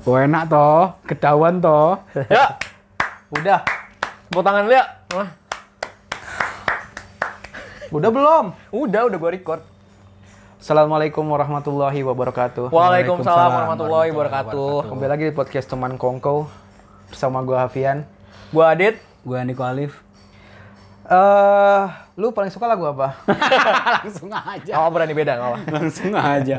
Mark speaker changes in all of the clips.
Speaker 1: Kok Oh, enak toh, ketahuan toh.
Speaker 2: Ya. Udah. Tepuk tangan lu ya. Wah.
Speaker 3: Udah belum?
Speaker 2: Udah, udah gua record.
Speaker 3: Assalamualaikum warahmatullahi wabarakatuh.
Speaker 2: Waalaikumsalam warahmatullahi wabarakatuh.
Speaker 3: Kembali lagi di podcast Teman Kongko bersama gua Hafian.
Speaker 2: Gua Adit.
Speaker 1: Gua Niko Alif.
Speaker 3: Eh, lu paling suka lagu apa?
Speaker 1: Langsung aja.
Speaker 2: Enggak berani beda enggak apa.
Speaker 1: Langsung aja.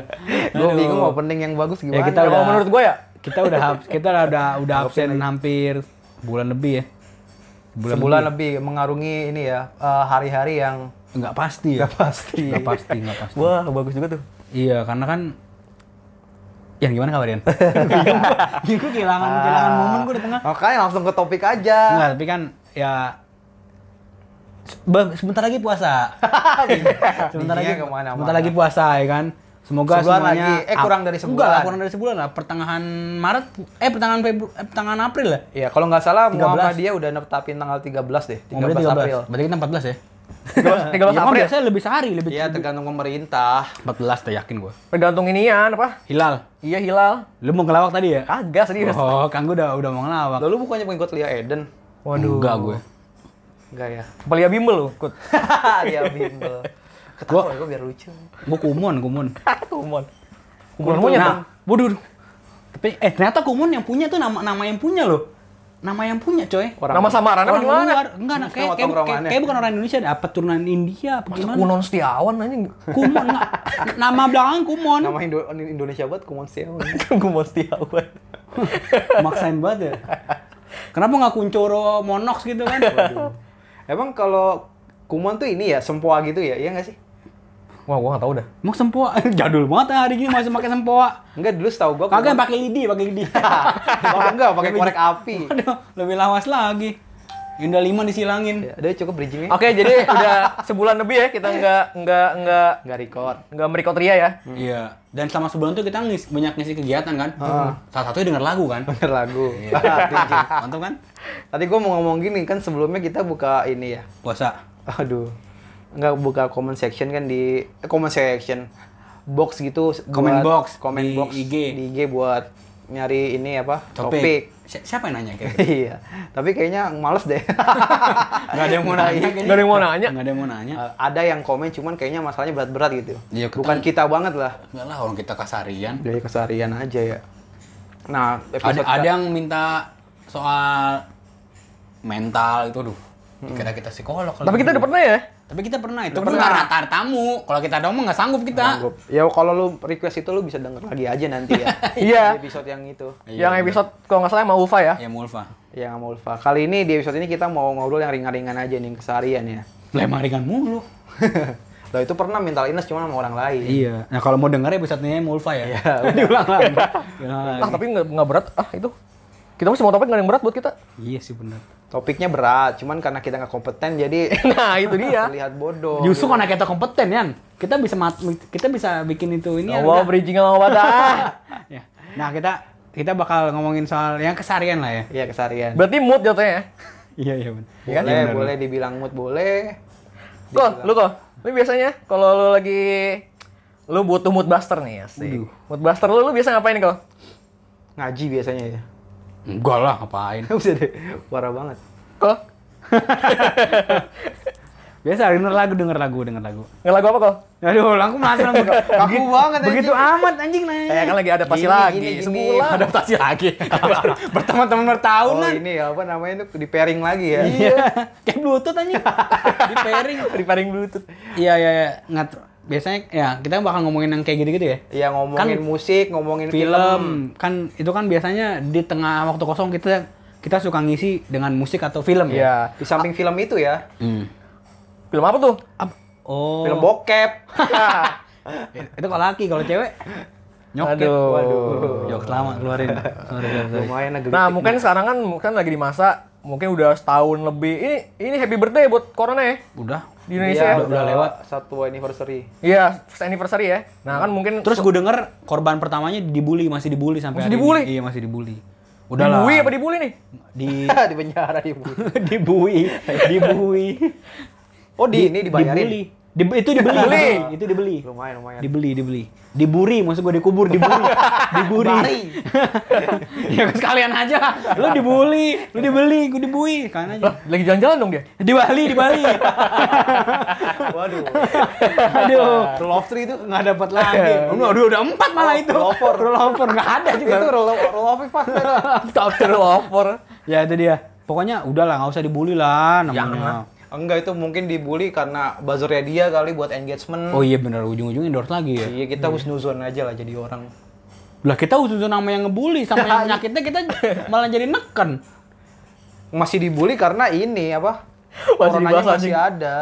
Speaker 3: gua
Speaker 1: Aduh.
Speaker 3: bingung opening yang bagus gimana.
Speaker 1: Ya, kita
Speaker 2: Kalau
Speaker 1: udah-
Speaker 2: menurut gua ya,
Speaker 1: Kita udah hab- kita udah udah absen hampir bulan lebih ya.
Speaker 3: sebulan lebih mengarungi ini ya eh, hari-hari yang
Speaker 1: Enggak pasti ya.
Speaker 3: gak pasti.
Speaker 1: Enggak pasti, enggak pasti.
Speaker 2: wah bagus juga tuh.
Speaker 1: Iya, karena kan yang gimana kabarin? Bingung gua. Bingung gua kehilangan kehilangan momen gua di tengah.
Speaker 3: Ah. Makanya langsung ke topik aja.
Speaker 1: Enggak, tapi kan ya Bang, sebentar lagi puasa. sebentar lagi
Speaker 3: Bikinnya Iya, kemana-mana.
Speaker 1: sebentar lagi puasa ya kan. Semoga
Speaker 3: Sebulan
Speaker 1: semuanya
Speaker 3: lagi. Eh, kurang dari
Speaker 1: Enggak lah,
Speaker 3: sebulan.
Speaker 1: kurang dari sebulan lah. Pertengahan Maret eh pertengahan Febru, eh, pertengahan April lah.
Speaker 3: Iya, kalau nggak salah
Speaker 1: 13.
Speaker 3: Muhammadiyah udah netapin tanggal 13 deh, 13, April.
Speaker 1: Berarti kita 14 ya. 13
Speaker 2: 13 April.
Speaker 1: Biasanya lebih sehari, lebih
Speaker 3: Iya, tergantung pemerintah.
Speaker 1: 14 deh yakin gua.
Speaker 2: Tergantung inian apa?
Speaker 1: Hilal,
Speaker 2: Iya hilal.
Speaker 1: lu mau ngelawak tadi ya?
Speaker 2: Kagak serius.
Speaker 1: Oh, Kang gua udah udah mau ngelawak.
Speaker 3: Lalu bukannya pengikut Lia Eden?
Speaker 2: Waduh.
Speaker 1: Enggak gue.
Speaker 3: Enggak ya.
Speaker 2: Pelia bimbel lu, Kut.
Speaker 3: Dia bimbel. Ketawa ya, gue biar lucu.
Speaker 1: Gua kumun, kumun.
Speaker 2: Kumon.
Speaker 1: Kumun
Speaker 2: Kumon punya
Speaker 1: nah,
Speaker 2: tuh.
Speaker 1: waduh. Tapi eh ternyata kumun yang punya tuh nama nama yang punya loh. Nama yang punya coy.
Speaker 3: Orang-
Speaker 2: Nama samaran apa
Speaker 1: orang
Speaker 2: gimana?
Speaker 1: luar enggak nah, kayak, kayak,
Speaker 3: Potong
Speaker 1: kayak,
Speaker 3: romannya.
Speaker 1: kayak bukan orang Indonesia deh apa turunan India apa gimana
Speaker 2: Kunon Setiawan anjing.
Speaker 1: kumon enggak nama belakang kumon
Speaker 3: Nama Indo- Indonesia buat Kumon Setiawan.
Speaker 2: Kumon Setiawan.
Speaker 1: maksain banget ya kenapa nggak kuncoro monox gitu kan
Speaker 3: Emang kalau Kumon tuh ini ya, sempoa gitu ya, iya nggak sih?
Speaker 2: Wah, gua enggak tahu dah.
Speaker 1: mau sempoa jadul banget ya hari ini masih pakai sempoa
Speaker 3: Enggak, dulu setahu gue
Speaker 1: kagak pakai lidi pakai lidi
Speaker 3: enggak, pakai korek api.
Speaker 1: Aduh, lebih lawas lagi Yunda lima disilangin
Speaker 3: Ya, udah cukup bridgingnya.
Speaker 2: Oke, jadi udah sebulan lebih ya kita nggak nggak nggak
Speaker 3: Nggak record.
Speaker 2: nggak merecord Ria ya.
Speaker 1: Iya, dan selama sebulan tuh kita ngis, banyak ngisi kegiatan kan.
Speaker 2: Ah.
Speaker 1: Salah satunya denger lagu kan.
Speaker 3: Bener lagu.
Speaker 2: Iya.
Speaker 1: Mantap kan?
Speaker 3: Tadi gue mau ngomong gini, kan sebelumnya kita buka ini ya.
Speaker 1: Puasa.
Speaker 3: Aduh. Enggak buka comment section kan di... Eh, comment section. Box gitu.
Speaker 1: Comment
Speaker 3: buat-
Speaker 1: box
Speaker 3: Comment
Speaker 1: di
Speaker 3: box.
Speaker 1: IG.
Speaker 3: Di IG buat nyari ini apa?
Speaker 1: Topik. Si- siapa yang nanya kayak? gitu?
Speaker 3: iya, tapi kayaknya males deh.
Speaker 1: Gak ada yang mau nanya. kayaknya.
Speaker 2: Nggak ada yang mau nanya.
Speaker 1: Nggak ada yang mau nanya.
Speaker 3: Eh, ada yang komen cuman kayaknya masalahnya berat-berat gitu.
Speaker 1: Iya, kita-
Speaker 3: Bukan kita banget lah.
Speaker 1: Enggak lah orang kita kasarian.
Speaker 3: Dari keseharian aja ya. Nah,
Speaker 1: Ada
Speaker 3: episode
Speaker 1: ada yang minta soal mental itu duh. Dikira kita psikolog. kalau
Speaker 2: Mm-hmm. Tapi kita
Speaker 1: gitu.
Speaker 2: udah pernah ya.
Speaker 1: Tapi kita pernah itu pernah ratar tamu. Kalau kita doang mah nggak sanggup kita.
Speaker 3: Sanggup. Ya kalau lu request itu lu bisa denger lagi aja nanti ya.
Speaker 2: Iya.
Speaker 3: Di episode yang itu.
Speaker 1: Iya,
Speaker 2: yang episode kalau nggak salah sama Ufa ya.
Speaker 1: Ya Mulfa.
Speaker 3: Yang sama Ulfa. Kali ini di episode ini kita mau ngobrol yang ringan-ringan aja nih keseharian ya.
Speaker 1: Lemaringan mulu.
Speaker 3: Lah itu pernah mental illness cuma sama orang lain.
Speaker 1: Iya. Nah kalau mau denger episode-nya Mulfa ya.
Speaker 2: Iya,
Speaker 1: Diulang lagi. Diulang
Speaker 2: Ah,
Speaker 1: lagi.
Speaker 2: tapi nggak nggak berat. Ah, itu. Kita mah semua topik nggak ada yang berat buat kita.
Speaker 1: Iya sih benar.
Speaker 3: Topiknya berat, cuman karena kita nggak kompeten jadi
Speaker 2: Nah, itu dia.
Speaker 3: terlihat bodoh.
Speaker 1: Iya. Justru karena kita kompeten ya, kita bisa mat- kita bisa bikin itu ini. Yan,
Speaker 2: Allah
Speaker 1: Iya, udah.
Speaker 2: bridging sama Bata.
Speaker 1: Ya. Nah kita kita bakal ngomongin soal yang kesarian lah ya.
Speaker 3: Iya keseharian.
Speaker 2: Berarti mood jatuhnya ya.
Speaker 1: Iya iya benar.
Speaker 3: Boleh, boleh dibilang mood boleh.
Speaker 1: iya.
Speaker 2: Kok, lu kok? Lu biasanya kalau lu lagi lu butuh mood buster nih ya sih. Mood buster lu lu biasa ngapain kok?
Speaker 3: Ngaji biasanya ya.
Speaker 1: Enggak lah ngapain.
Speaker 3: Bisa deh, parah banget.
Speaker 2: Kok?
Speaker 1: Biasa denger lagu denger lagu denger lagu.
Speaker 2: Ngelagu apa kok?
Speaker 1: Aduh, langsung penasaran.
Speaker 3: Kaku banget
Speaker 1: Begitu amat anjing nanya. Iya,
Speaker 2: Kayak kan lagi adaptasi
Speaker 3: Gini,
Speaker 2: lagi
Speaker 3: gini, gini.
Speaker 2: sebulan.
Speaker 1: adaptasi lagi. Berteman-teman
Speaker 3: Oh
Speaker 1: bertahunan.
Speaker 3: ini ya, apa namanya itu di pairing lagi ya.
Speaker 1: Iya. Kayak bluetooth anjing. Di pairing.
Speaker 2: Repairing bluetooth.
Speaker 1: Iya iya iya. Ngat biasanya ya kita bakal ngomongin yang kayak gitu-gitu ya.
Speaker 3: Iya ngomongin
Speaker 1: Kan-
Speaker 3: musik, ngomongin film.
Speaker 1: film kan itu kan biasanya di tengah waktu kosong kita kita suka ngisi dengan musik atau film ya.
Speaker 2: Iya.
Speaker 3: Di samping film itu ya,
Speaker 1: Hmm.
Speaker 2: Film apa tuh?
Speaker 1: Ap- oh.
Speaker 3: film bokep.
Speaker 1: itu kalau laki kalau cewek nyoket.
Speaker 2: Aduh.
Speaker 1: Jok lama keluarin. Sorry, sorry, sorry.
Speaker 3: Lumayan agak
Speaker 2: Nah, mungkin sekarang kan mungkin lagi di masa mungkin udah setahun lebih. Ini ini happy birthday buat corona ya
Speaker 1: Udah.
Speaker 2: di Indonesia ya.
Speaker 1: udah- udah lewat.
Speaker 3: Iya, satu anniversary.
Speaker 2: Iya, first anniversary ya. Nah, kan mungkin
Speaker 1: Terus gue denger korban pertamanya dibully, masih dibully sampai hari
Speaker 2: Masih
Speaker 1: ini.
Speaker 2: dibully?
Speaker 1: Iya, masih dibully. Udah lah.
Speaker 2: dibully apa dibully nih?
Speaker 1: Di
Speaker 3: di penjara iya, di
Speaker 1: dibully, dibully.
Speaker 3: Oh di, ini dibayarin.
Speaker 1: Dibully. Di- itu dibeli, itu dibeli.
Speaker 3: Lumayan lumayan.
Speaker 1: Dibeli, dibeli. Diburi, maksud gue dikubur, diburi. diburi.
Speaker 3: Bari.
Speaker 1: ya sekalian aja lah. Lu dibully, lu dibeli, gue dibui. Kan aja.
Speaker 2: Lagi jalan-jalan dong dia.
Speaker 1: Di Bali, di Bali.
Speaker 3: Waduh.
Speaker 1: Aduh.
Speaker 3: Rule of three itu nggak dapat lagi. Iya.
Speaker 1: Lu udah udah empat malah itu.
Speaker 3: Roll over.
Speaker 1: Roll over nggak ada juga.
Speaker 3: itu rule, rule of three faktor.
Speaker 2: After lover.
Speaker 1: Ya itu dia. Pokoknya udahlah nggak usah dibully lah
Speaker 2: Jangan.
Speaker 1: namanya.
Speaker 3: Enggak itu mungkin dibully karena buzzernya dia kali buat engagement.
Speaker 1: Oh iya bener ujung-ujungnya endorse lagi ya.
Speaker 3: Iya kita husnuzon aja lah jadi orang.
Speaker 1: Lah kita usus sama yang ngebully sama yang menyakitnya kita malah jadi neken.
Speaker 3: Masih dibully karena ini apa?
Speaker 2: Masih
Speaker 3: Coronanya
Speaker 2: dibahas,
Speaker 3: masih
Speaker 2: anjing.
Speaker 3: ada.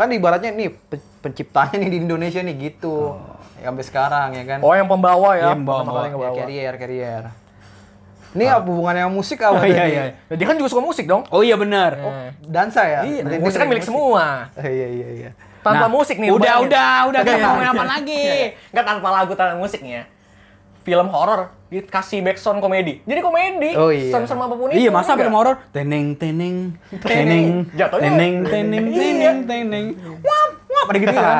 Speaker 3: Kan ibaratnya nih pe- penciptanya nih di Indonesia nih gitu. Ya, sampai sekarang ya kan.
Speaker 2: Oh yang pembawa ya.
Speaker 1: Yang bawa-
Speaker 2: pertama kali
Speaker 3: Ya,
Speaker 2: yang bawa.
Speaker 3: carrier, carrier. Ini apa hubungannya sama musik apa?
Speaker 1: Oh iya
Speaker 3: tadi?
Speaker 1: iya.
Speaker 2: Nah, dia kan juga suka musik dong.
Speaker 1: Oh iya benar.
Speaker 2: Nah,
Speaker 3: Dansa ya?
Speaker 2: iya,
Speaker 3: Berarti
Speaker 2: musik kan
Speaker 3: ini
Speaker 2: milik semua.
Speaker 3: Oh, iya iya iya.
Speaker 2: Tanpa
Speaker 1: Nah,
Speaker 2: musik nih.
Speaker 1: Udah
Speaker 2: bayangin.
Speaker 1: udah udah kita
Speaker 2: Iya.
Speaker 1: ngomongin apa lagi?
Speaker 2: Iya, iya. Nggak tanpa lagu tanpa musiknya. Film horor dikasih background komedi. Jadi komedi.
Speaker 3: Oh, iya.
Speaker 2: Serem serem apapun itu.
Speaker 1: Iya masa
Speaker 2: enggak?
Speaker 1: film horor teneng teneng teneng
Speaker 2: Jatuhnya-
Speaker 1: teneng teneng teneng Iya. teneng wap wap ada gitu kan.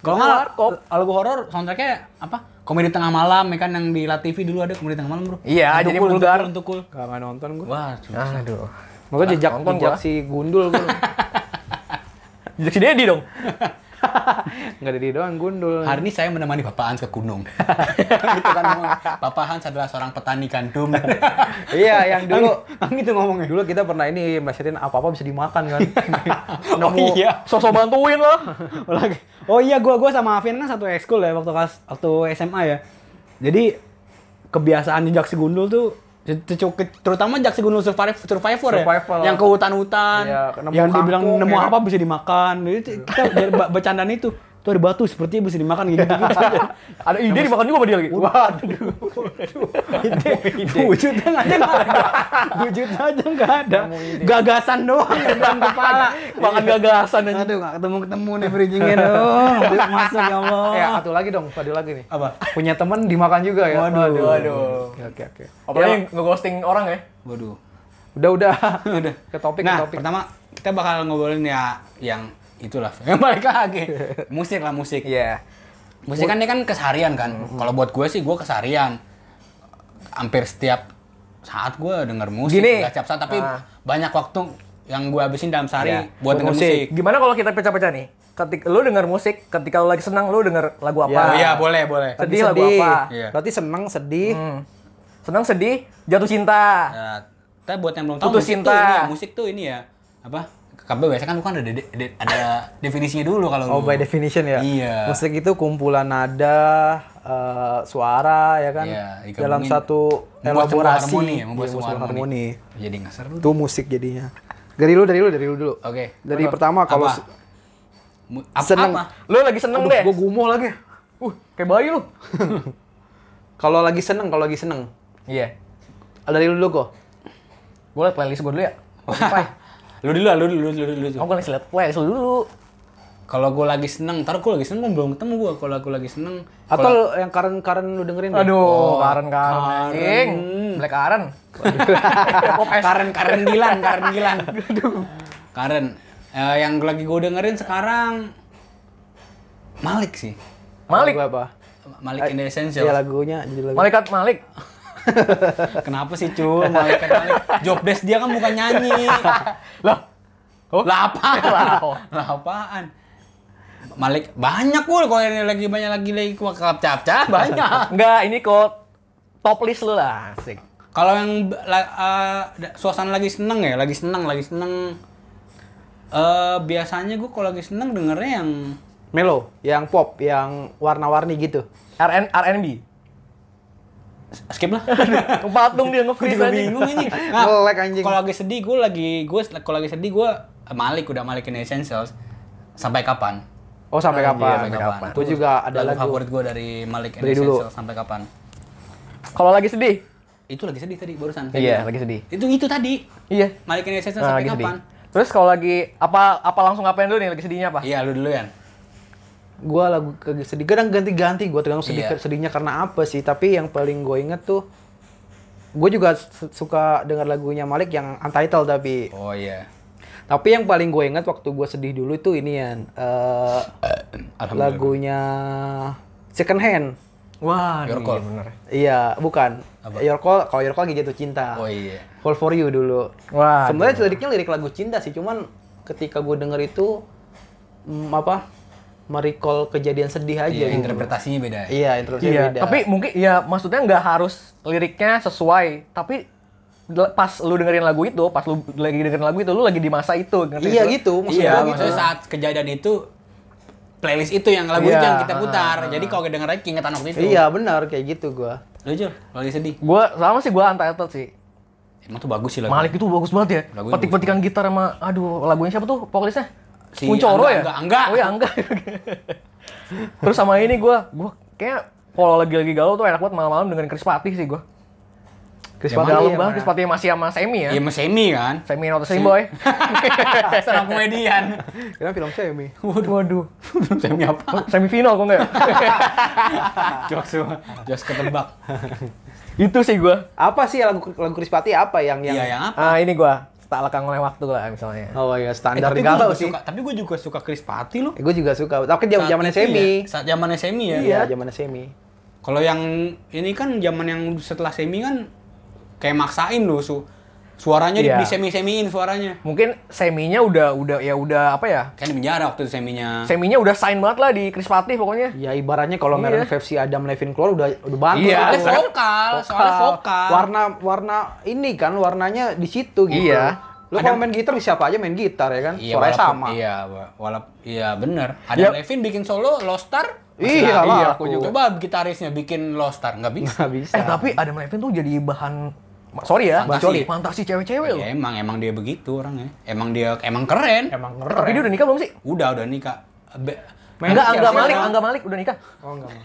Speaker 1: Kalau nggak lagu horor soundtracknya apa? Komedi tengah malam ya kan yang di La TV dulu ada komedi tengah malam bro.
Speaker 2: Iya,
Speaker 1: Untuk
Speaker 2: jadi
Speaker 1: cool, untuk
Speaker 2: vulgar.
Speaker 1: cool, Untuk cool.
Speaker 3: Gak, nggak nonton gue.
Speaker 1: Wah, cuy.
Speaker 2: Aduh.
Speaker 3: Makanya jejak,
Speaker 2: nonton
Speaker 3: jejak
Speaker 2: gua.
Speaker 3: si Gundul gue.
Speaker 2: Jadi si Dedi dong.
Speaker 3: Enggak dari doang Gundul.
Speaker 1: Hari ini saya menemani Bapak Hans ke gunung. gitu kan ngomong. Bapak Hans adalah seorang petani gandum.
Speaker 3: iya, yang dulu
Speaker 1: Kan gitu ngomongnya.
Speaker 3: dulu kita pernah ini masihin apa-apa bisa dimakan kan.
Speaker 1: Oh iya.
Speaker 2: Sosok bantuin lah.
Speaker 1: Lagi- Oh iya, gua gua sama Avian kan satu ekskul ya waktu kelas waktu SMA ya. Jadi kebiasaan jejak si gundul tuh cecuk- terutama jak si gundul survive- survivor,
Speaker 3: Survival.
Speaker 1: ya yang ke hutan-hutan
Speaker 3: Iya, nemu
Speaker 1: yang dibilang
Speaker 3: kangkung,
Speaker 1: nemu
Speaker 3: ya.
Speaker 1: apa bisa dimakan jadi c- kita dari ba- bercandaan itu tuh ada batu sepertinya bisa dimakan gitu gitu
Speaker 2: Ada ide dimakan juga sama dia lagi.
Speaker 3: Waduh.
Speaker 1: wujudnya aja nggak ada wujudnya aja nggak ada gagasan doang yang Iya, dalam kepala
Speaker 2: Makan
Speaker 1: Iya.
Speaker 2: gagasan aja.
Speaker 1: aduh nggak ketemu ketemu nih bridgingnya dong masuk ya Allah
Speaker 3: Eh, satu lagi dong, satu lagi nih.
Speaker 1: apa
Speaker 3: Punya teman dimakan juga ya.
Speaker 1: Waduh.
Speaker 2: Waduh.
Speaker 3: Oke, oke, oke.
Speaker 2: Apalagi nge-ghosting orang ya.
Speaker 1: waduh
Speaker 3: Udah, udah.
Speaker 1: udah
Speaker 3: Ke topik,
Speaker 1: nah
Speaker 3: ke topik.
Speaker 1: pertama kita bakal ngobrolin ya yang itulah yang balik lagi musik lah musik
Speaker 3: Iya.
Speaker 1: musik kan ini kan keseharian kan
Speaker 3: Hmm.
Speaker 1: kalau buat gue sih gue keseharian hampir setiap saat gue denger musik
Speaker 2: Gini.
Speaker 1: nggak setiap saat tapi
Speaker 2: Ah.
Speaker 1: banyak waktu yang gue habisin dalam sehari
Speaker 3: Iya,
Speaker 1: buat, denger musik,
Speaker 2: Gimana kalau kita pecah-pecah nih? Ketika lu denger musik, ketika lu lagi senang lu denger lagu apa?
Speaker 3: Ya.
Speaker 1: oh iya boleh boleh
Speaker 2: Sedih lagu apa?
Speaker 1: Iya.
Speaker 3: Berarti seneng, sedih.
Speaker 2: Hmm. Senang sedih, jatuh cinta.
Speaker 1: Ya, tapi buat yang belum tahu
Speaker 2: Putus
Speaker 1: musik
Speaker 2: cinta.
Speaker 1: tuh ini ya, musik tuh ini ya apa KB biasanya kan bukan ada de- de- ada definisinya dulu kalau
Speaker 3: Oh,
Speaker 1: lu.
Speaker 3: by definition ya.
Speaker 1: Iya.
Speaker 3: Musik itu kumpulan nada, eh, suara ya kan.
Speaker 1: Iya, digabungin.
Speaker 3: Dalam satu
Speaker 1: Membuat sebuah
Speaker 3: elaborasi.
Speaker 1: harmoni ya,
Speaker 3: Iya,
Speaker 1: membuat sebuah harmoni. jadi nggak seru
Speaker 3: Itu musik jadinya. Dari lu, dari lu, dari lu dulu.
Speaker 1: Oke.
Speaker 3: Dari pertama kalau
Speaker 1: Apa?
Speaker 3: se-
Speaker 1: Mu- apa,
Speaker 3: Seneng.
Speaker 1: apa?
Speaker 2: Lu lagi seneng
Speaker 3: Aduh,
Speaker 2: deh.
Speaker 3: gua gumoh lagi.
Speaker 2: Uh, kayak bayi lu.
Speaker 3: Kalau lagi seneng, kalau lagi seneng.
Speaker 2: Iya.
Speaker 3: Dari lu dulu kok.
Speaker 2: Gue liat playlist gue dulu ya. Spotify.
Speaker 1: lu dulu lah, lu dulu, lu dulu, lu dulu.
Speaker 2: Oh, gue lagi liat playlist lu dulu.
Speaker 1: Kalau gue lagi seneng, ntar gue lagi seneng belum ketemu gue. Kalau gue lagi seneng,
Speaker 3: Atau yang karen-karen lu dengerin deh.
Speaker 2: Aduh, karen karen Hmm.
Speaker 1: Karen.
Speaker 2: anjing. Black karen. Pop es.
Speaker 1: Karen Karen Gilan, Karen Gilan. Karen, eh, yang lagi gue dengerin sekarang Malik sih,
Speaker 2: Malik.
Speaker 3: Lagu apa?
Speaker 1: Malik in the Essential.
Speaker 3: Iya lagunya jadi lagu.
Speaker 2: Malaikat Malik.
Speaker 1: Kenapa sih cu, Malik kan Malik. Jobdesk dia kan bukan nyanyi.
Speaker 2: Lah,
Speaker 1: Lah apaan?
Speaker 2: Lah.
Speaker 1: Lah apaan? Malik banyak gue kalau ini lagi banyak lagi lagi kelap capca banyak.
Speaker 2: enggak ini kok top list lu lah, asik.
Speaker 1: Kalau yang b- la- eh, da- suasana lagi seneng ya, lagi seneng, lagi seneng. eh biasanya gue kalau lagi seneng dengernya yang
Speaker 3: Melo, yang pop, yang warna-warni gitu.
Speaker 2: RN RNB.
Speaker 1: skip lah.
Speaker 2: Kepatung dia
Speaker 1: Gue
Speaker 2: nge-freeze
Speaker 1: juga
Speaker 2: anjing.
Speaker 1: bingung ini.
Speaker 3: Nge-lag anjing.
Speaker 1: Kalau lagi sedih gue lagi gue kalau lagi sedih gue Malik udah Malikin Essentials sampai kapan?
Speaker 3: Oh sampai kapan?
Speaker 1: sampai kapan.
Speaker 3: Itu juga ada
Speaker 1: lagu,
Speaker 3: lagu.
Speaker 1: favorit gue dari Malik
Speaker 3: Beri dulu.
Speaker 1: Essentials sampai kapan?
Speaker 2: Kalau lagi sedih?
Speaker 1: Itu lagi sedih tadi barusan.
Speaker 2: Iya, lagi sedih.
Speaker 1: Itu itu tadi.
Speaker 2: Iya.
Speaker 1: Malik Essentials
Speaker 2: Nah,
Speaker 1: sampai
Speaker 2: lagi sedih.
Speaker 1: kapan?
Speaker 2: Terus kalau lagi apa apa langsung ngapain dulu nih lagi sedihnya apa?
Speaker 1: Iya, lu dulu ya.
Speaker 3: Gua lagu ke- sedih, kadang ganti-ganti. Gua tergantung sedih,
Speaker 1: Iya.
Speaker 3: sedihnya karena apa sih. Tapi yang paling gue inget tuh, gue juga su- suka dengar lagunya Malik yang untitled tapi.
Speaker 1: Oh iya.
Speaker 3: Tapi yang paling gue inget waktu gue sedih dulu itu ini Yan. Eh,
Speaker 1: Alhamdulillah.
Speaker 3: lagunya Second Hand.
Speaker 2: Wah,
Speaker 4: Your
Speaker 2: iya
Speaker 4: call.
Speaker 2: bener.
Speaker 3: Iya, bukan.
Speaker 4: Apa?
Speaker 3: Your Call, kalau Your Call lagi jatuh cinta.
Speaker 4: Oh iya.
Speaker 3: Call for You dulu.
Speaker 2: Wah,
Speaker 3: Sebenarnya liriknya lirik lagu cinta sih, cuman ketika gue denger itu mm, apa? Merecall kejadian sedih aja.
Speaker 4: Iya,
Speaker 3: gitu.
Speaker 4: interpretasinya beda. ya.
Speaker 3: Iya, interpretasinya
Speaker 2: Iya,
Speaker 3: beda.
Speaker 2: tapi mungkin ya maksudnya nggak harus liriknya sesuai, tapi l- pas lu dengerin lagu itu, pas lu lagi dengerin lagu itu, lu lagi di masa itu, ngerti?
Speaker 3: Iya
Speaker 2: Lu-
Speaker 3: gitu, maksud
Speaker 4: Iya,
Speaker 3: gua gitu.
Speaker 4: maksudnya saat kejadian itu playlist itu yang lagu
Speaker 2: Iya,
Speaker 4: itu yang kita putar. Jadi kalau kedengeran lagi keingetan waktu itu.
Speaker 3: Iya, benar kayak gitu gua.
Speaker 4: Lu Jul, kalau lagi sedih.
Speaker 2: Gua sama sih gua untitled sih.
Speaker 4: Emang tuh bagus sih lagu.
Speaker 2: Malik itu bagus banget ya.
Speaker 4: kan? Lagunya
Speaker 2: Petik-petikan gitar sama aduh, lagunya siapa tuh vokalisnya?
Speaker 4: Si
Speaker 2: Kuncoro
Speaker 4: Angga,
Speaker 2: ya?
Speaker 4: Angga, Angga.
Speaker 2: Oh ya, Angga. Terus sama ini gua, gua kayak kalau lagi-lagi galau tuh enak banget malam-malam dengerin Chris Patih sih gua. Chris
Speaker 4: Yang
Speaker 2: Patih
Speaker 3: mana?
Speaker 2: galau
Speaker 3: Yang
Speaker 2: banget,
Speaker 3: mana?
Speaker 2: Chris Patih masih sama Semi ya.
Speaker 4: ya, Iya, sama Semi kan.
Speaker 2: Semi not the same boy.
Speaker 4: Stand up komedian.
Speaker 3: Kira film semi.
Speaker 2: Waduh. Waduh.
Speaker 4: Semi apa?
Speaker 2: Semifinal kok enggak ya?
Speaker 4: Jokes semua. Jokes ketebak.
Speaker 2: itu sih gua.
Speaker 3: Apa sih lagu lagu Chris Patti apa yang yang
Speaker 4: Iya, yang apa?
Speaker 2: Ah, ini gua tak lekang oleh waktu lah misalnya.
Speaker 3: Oh
Speaker 4: Eh,
Speaker 3: iya, standar
Speaker 4: tapi gue
Speaker 3: galau
Speaker 4: juga
Speaker 3: sih.
Speaker 4: suka, tapi gue juga suka Chris Patti loh.
Speaker 3: Gue Eh, juga suka. Tapi zaman
Speaker 4: Saat
Speaker 3: zamannya
Speaker 4: itu
Speaker 3: semi.
Speaker 4: ya, saat zamannya semi ya.
Speaker 3: Iya, zamannya semi.
Speaker 4: Kalau yang ini kan zaman yang setelah semi kan kayak maksain loh su suaranya di
Speaker 2: Iya.
Speaker 4: semi-semiin suaranya.
Speaker 2: Mungkin seminya udah udah ya udah apa ya?
Speaker 4: Kan di penjara waktu itu seminya.
Speaker 2: Seminya udah sign banget lah di Chris Patih pokoknya.
Speaker 3: Ya ibaratnya kalau
Speaker 2: Iya.
Speaker 3: Maroon 5 si Adam Levine keluar udah udah bangkrut.
Speaker 2: Iya,
Speaker 3: tuh.
Speaker 4: Soalnya vokal, soalnya vokal. Iya,
Speaker 3: Warna warna ini kan warnanya di situ gitu.
Speaker 2: Iya.
Speaker 3: Lu kalau main gitar siapa aja main gitar ya kan?
Speaker 4: Iya,
Speaker 3: Suaranya
Speaker 4: walaupun-
Speaker 3: sama.
Speaker 4: Iya, wa- walap iya bener. Ada
Speaker 2: Iya.
Speaker 4: Levin bikin solo Lost Star.
Speaker 3: Iya,
Speaker 4: masih laku.
Speaker 3: lah,
Speaker 4: Iya,
Speaker 3: aku juga.
Speaker 4: Coba gitarisnya bikin Lost Star nggak bisa.
Speaker 3: Nggak bisa.
Speaker 2: Eh tapi Adam Levine tuh jadi bahan sorry ya,
Speaker 4: Fantasi.
Speaker 2: fantasi, Iya, fantasi cewek-cewek loh.
Speaker 4: ya, emang emang dia begitu orangnya. Emang dia emang keren.
Speaker 3: emang keren.
Speaker 2: Tapi dia udah nikah belum sih?
Speaker 4: Udah udah nih kak. Be-
Speaker 2: Enggak,
Speaker 3: siapa
Speaker 2: Angga
Speaker 3: sih,
Speaker 2: Malik,
Speaker 3: Bang?
Speaker 2: Angga Malik udah nikah.
Speaker 3: Oh enggak. Bang.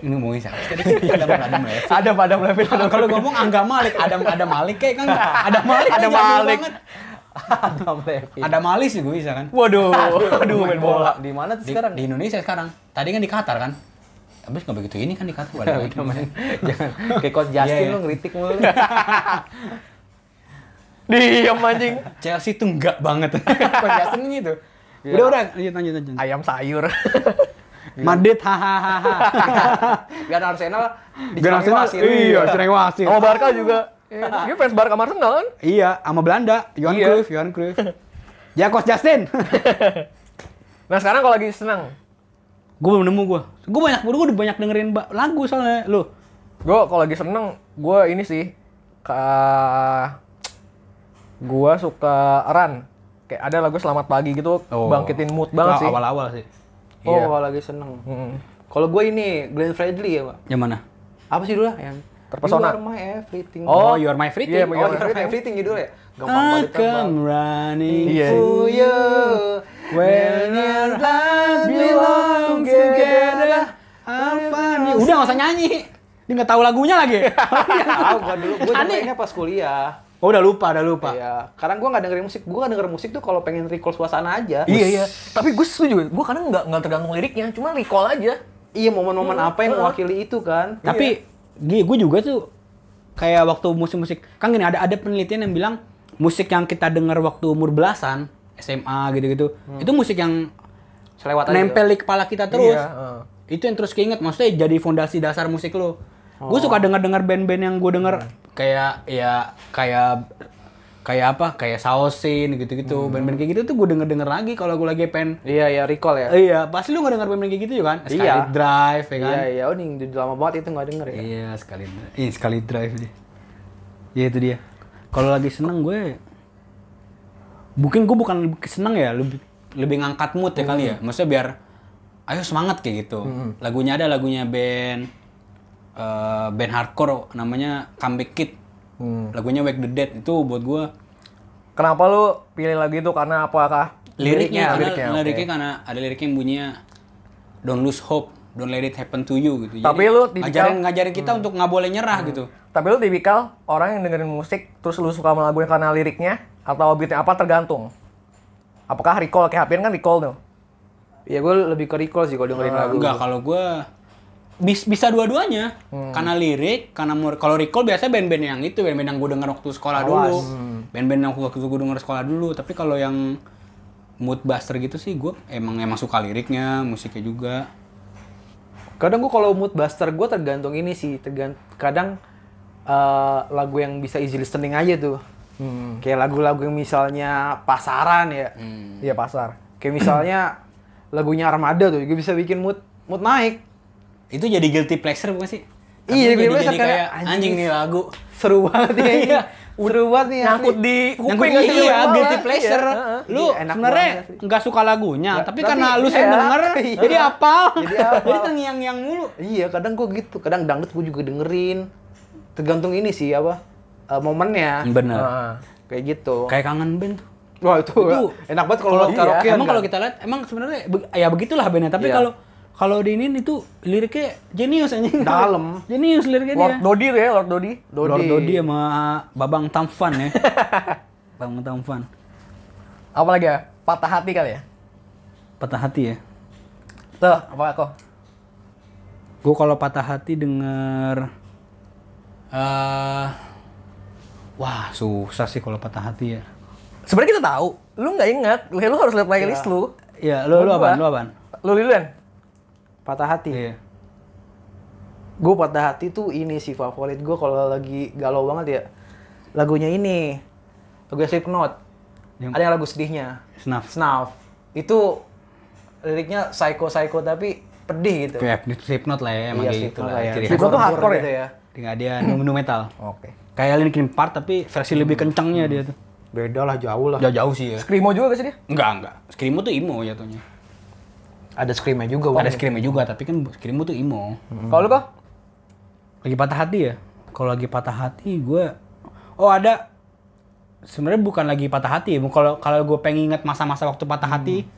Speaker 4: ini ngomongin siapa? sih tadi? Adam Adam Levin.
Speaker 2: Ada Adam Levine.
Speaker 4: Kalau kalau ngomong Angga Malik, Adam ada Malik kayak kan ada Malik, kan
Speaker 2: Adam
Speaker 4: jago
Speaker 2: Malik.
Speaker 4: banget.
Speaker 3: Adam Levine.
Speaker 4: Ada Malis juga bisa kan?
Speaker 2: Waduh, aduh main bola.
Speaker 3: Di mana tuh
Speaker 4: Di,
Speaker 3: sekarang?
Speaker 4: di Indonesia sekarang. Tadi kan di Qatar kan? Habis nggak begitu ini kan di Qatar. Ada lagi.
Speaker 3: Jangan kayak Coach Justin
Speaker 4: Iya,
Speaker 3: lu ngeritik mulu.
Speaker 2: Diam anjing.
Speaker 4: Chelsea tuh enggak banget. Penjelasan gitu. Udah udah lanjut lanjut lanjut.
Speaker 2: Ayam sayur.
Speaker 1: Madrid hahaha.
Speaker 3: Biar Arsenal
Speaker 1: Gen Arsenal.
Speaker 3: dicewasin.
Speaker 1: Iya, sering wasit.
Speaker 4: Oh,
Speaker 2: Sama Barca juga. Eh, Dia fans Barca sama Arsenal kan?
Speaker 1: Iya, sama Belanda, Johan
Speaker 2: Iya.
Speaker 1: Cruyff, Johan Cruyff. Ya Coach Justin.
Speaker 2: Nah, sekarang kalau lagi senang,
Speaker 1: gue belum nemu gue. Gue banyak gue udah banyak dengerin ba- lagu soalnya lu.
Speaker 2: gue kalau lagi seneng, gue ini sih, ke gue suka Ran. Kayak ada lagu Selamat Pagi gitu,
Speaker 1: Oh.
Speaker 2: bangkitin mood banget sih.
Speaker 4: Awal-awal sih.
Speaker 3: Oh,
Speaker 2: Iya.
Speaker 3: kalau lagi seneng.
Speaker 2: Mm.
Speaker 3: Kalau gue ini Glenn Fredly ya, Pak.
Speaker 1: Yang mana?
Speaker 3: Apa sih dulu lah yang You
Speaker 2: Terpesona.
Speaker 3: are my everything.
Speaker 2: Oh,
Speaker 1: You Are My Everything.
Speaker 2: Iya,
Speaker 3: Oh,
Speaker 2: You Are My
Speaker 3: you are my everything gitu ya.
Speaker 1: I
Speaker 3: Gampang banget. Bang.
Speaker 1: come running
Speaker 2: Iya.
Speaker 1: for you Oh, when our lives belong together. I'll find you. Udah nggak usah nyanyi. Ini nggak tahu lagunya lagi.
Speaker 3: Tahu gua Oh, dulu gua
Speaker 1: Aneh.
Speaker 3: dengerinnya pas kuliah.
Speaker 1: oh udah lupa, udah lupa.
Speaker 3: Iya, karena gua nggak dengerin musik. Gua nggak dengerin musik tuh kalau pengen recall suasana aja.
Speaker 2: Iya iya. Tapi gue setuju. Gue kadang nggak nggak tergantung liriknya, cuma recall aja.
Speaker 3: Iya, momen-momen apa yang mewakili itu kan?
Speaker 1: Tapi gue juga tuh kayak waktu musik-musik kan gini ada ada penelitian yang bilang musik yang kita dengar waktu umur belasan SMA gitu-gitu itu musik yang
Speaker 3: selewat aja.
Speaker 1: nempel di kepala kita terus
Speaker 2: Iya, heeh.
Speaker 1: itu yang terus keinget maksudnya jadi fondasi dasar musik lo gue suka denger denger band-band yang gue denger kayak ya kayak kayak apa kayak sausin gitu-gitu band-band kayak gitu tuh gue denger denger lagi kalau gue lagi pengen
Speaker 3: Iya, iya recall ya.
Speaker 1: iya pasti lu nggak denger band-band kayak gitu juga kan sekali
Speaker 3: Iya.
Speaker 1: drive ya kan
Speaker 3: Iya, iya, oh, nih, udah lama banget itu nggak denger ya.
Speaker 1: Iya sekali, iya sekali drive deh. Ya itu dia. Kalau lagi seneng gue, mungkin gue bukan lebih seneng ya, lebih lebih ngangkat mood ya kali ya.
Speaker 2: Hmm.
Speaker 1: Maksudnya biar, ayo semangat kayak gitu. Lagunya ada lagunya band eh, band hardcore namanya Comeback Kid.
Speaker 2: Hmm.
Speaker 1: Lagunya Wake the Dead itu buat gue
Speaker 2: Kenapa lu pilih lagu itu? Karena apakah
Speaker 4: liriknya, karena-
Speaker 2: liriknya,
Speaker 4: liriknya,
Speaker 2: oke.
Speaker 4: karena ada liriknya yang bunyinya Don't lose hope, don't let it happen to you gitu.
Speaker 2: Tapi lu Hmm. tipikal-
Speaker 4: ngajarin ngajarin kita untuk nggak boleh nyerah gitu.
Speaker 2: Tapi lu tipikal orang yang dengerin musik terus lu suka sama lagunya karena liriknya atau beatnya apa tergantung. Apakah recall kayak Hapian kan recall tuh.
Speaker 3: Iya, gua lebih ke recall sih kalau dengerin lagu.
Speaker 4: Enggak, kalau gue bisa dua-duanya.
Speaker 3: Hmm.
Speaker 4: Karena lirik, karena mur- kalau recall biasanya band-band yang itu, band-band yang gue denger waktu sekolah dulu. Band-band yang waktu gue denger sekolah dulu, tapi kalau yang mood buster gitu sih gue emang emang suka liriknya, musiknya juga.
Speaker 3: Kadang gue kalau mood buster gue tergantung ini sih, tergant kadang eh, lagu yang bisa easy listening aja tuh. Kayak lagu-lagu yang misalnya pasaran ya.
Speaker 2: Iya pasar.
Speaker 3: Kayak misalnya lagunya Armada tuh, gue bisa bikin mood mood naik.
Speaker 4: Itu jadi guilty pleasure bukan sih?
Speaker 3: Iya,
Speaker 4: Tapi
Speaker 3: guilty
Speaker 4: jadi-
Speaker 3: pleasure
Speaker 4: jadi
Speaker 3: karena
Speaker 4: kayak
Speaker 3: anjing.
Speaker 4: anjing nih lagu.
Speaker 3: Seru banget ya. ini. Seru banget nih.
Speaker 2: Nyangkut
Speaker 3: asli.
Speaker 2: di
Speaker 4: Yang gue
Speaker 2: kuping nggak sih?
Speaker 4: iya,
Speaker 3: banget.
Speaker 4: guilty pleasure.
Speaker 3: Iya, heeh.
Speaker 4: Lu
Speaker 3: Iya, enak
Speaker 4: sebenarnya
Speaker 3: banget sih.
Speaker 4: nggak suka lagunya, tapi,
Speaker 3: tapi
Speaker 4: karena lu
Speaker 3: iya.
Speaker 4: sering denger,
Speaker 3: Iya.
Speaker 4: jadi apal.
Speaker 3: Jadi apal.
Speaker 4: terngiang-ngiang mulu.
Speaker 3: Iya, kadang gue gitu. Kadang dangdut gue juga dengerin. Tergantung ini sih apa eh, momennya.
Speaker 1: Bener.
Speaker 2: Heeh.
Speaker 3: Kayak gitu.
Speaker 1: Hmm. Kayak kangen band tuh.
Speaker 3: Wah itu,
Speaker 1: Itu-
Speaker 3: enak banget kalau buat
Speaker 2: Iya.
Speaker 3: karaoke.
Speaker 1: emang kalau kita lihat emang sebenarnya be- ya begitulah bandnya tapi
Speaker 3: kan? Iya.
Speaker 1: kalau kalau di ini itu liriknya jenius anjing
Speaker 3: Dalam.
Speaker 1: jenius liriknya dia
Speaker 2: Lord Dodir ya, Lord Dodi.
Speaker 3: Dodi.
Speaker 1: Lord Dodi sama Babang Tamfan ya Babang Tamfan
Speaker 2: Apa lagi ya? Patah hati kali ya?
Speaker 1: patah hati ya
Speaker 2: Tuh, apa kok?
Speaker 1: gue kalau patah hati denger eh wah susah sih kalau patah hati ya
Speaker 2: Sebenarnya kita tahu. Lu nggak ingat, lu, lu harus lihat playlist lu.
Speaker 1: ya lo lo
Speaker 2: Gua
Speaker 1: apaan lo
Speaker 2: dua.
Speaker 1: apaan
Speaker 2: Iya. Lu lilian.
Speaker 3: patah hati.
Speaker 1: iya
Speaker 3: Gue patah hati tuh ini sih favorit gue kalau lagi galau banget ya. Lagunya ini. Lagu Slipknot.
Speaker 1: Yang-
Speaker 3: Ada yang lagu sedihnya.
Speaker 1: Snuff
Speaker 3: Snuff. Itu liriknya psycho-psycho tapi pedih gitu.
Speaker 1: kayak Slipknot lah ya emang
Speaker 3: Iya,
Speaker 1: kayak gitu
Speaker 3: Slipknot
Speaker 1: lah
Speaker 3: lah ya.
Speaker 1: ciri khas.
Speaker 2: Slipknot tuh hardcore ya?
Speaker 3: gitu ya.
Speaker 1: Dengan dia nu nu metal
Speaker 2: Oke.
Speaker 1: kayak Linkin Park tapi versi lebih kencangnya dia tuh
Speaker 3: Beda lah, jauh lah.
Speaker 1: Hmm. jauh-jauh sih ya
Speaker 2: Skrimo juga gak sih dia?
Speaker 1: Enggak, enggak. Skrimo tuh emo jatuhnya.
Speaker 3: Ada screamnya juga.
Speaker 1: Ada
Speaker 3: Ada
Speaker 1: skrimo juga, tapi kan skrimo tuh emo.
Speaker 2: Kalau lu kok?
Speaker 1: Lagi patah hati ya? Kalau lagi patah hati gue... Oh ada... Sebenarnya bukan lagi patah hati ya. Kalau kalau gue pengen inget masa-masa waktu patah hati,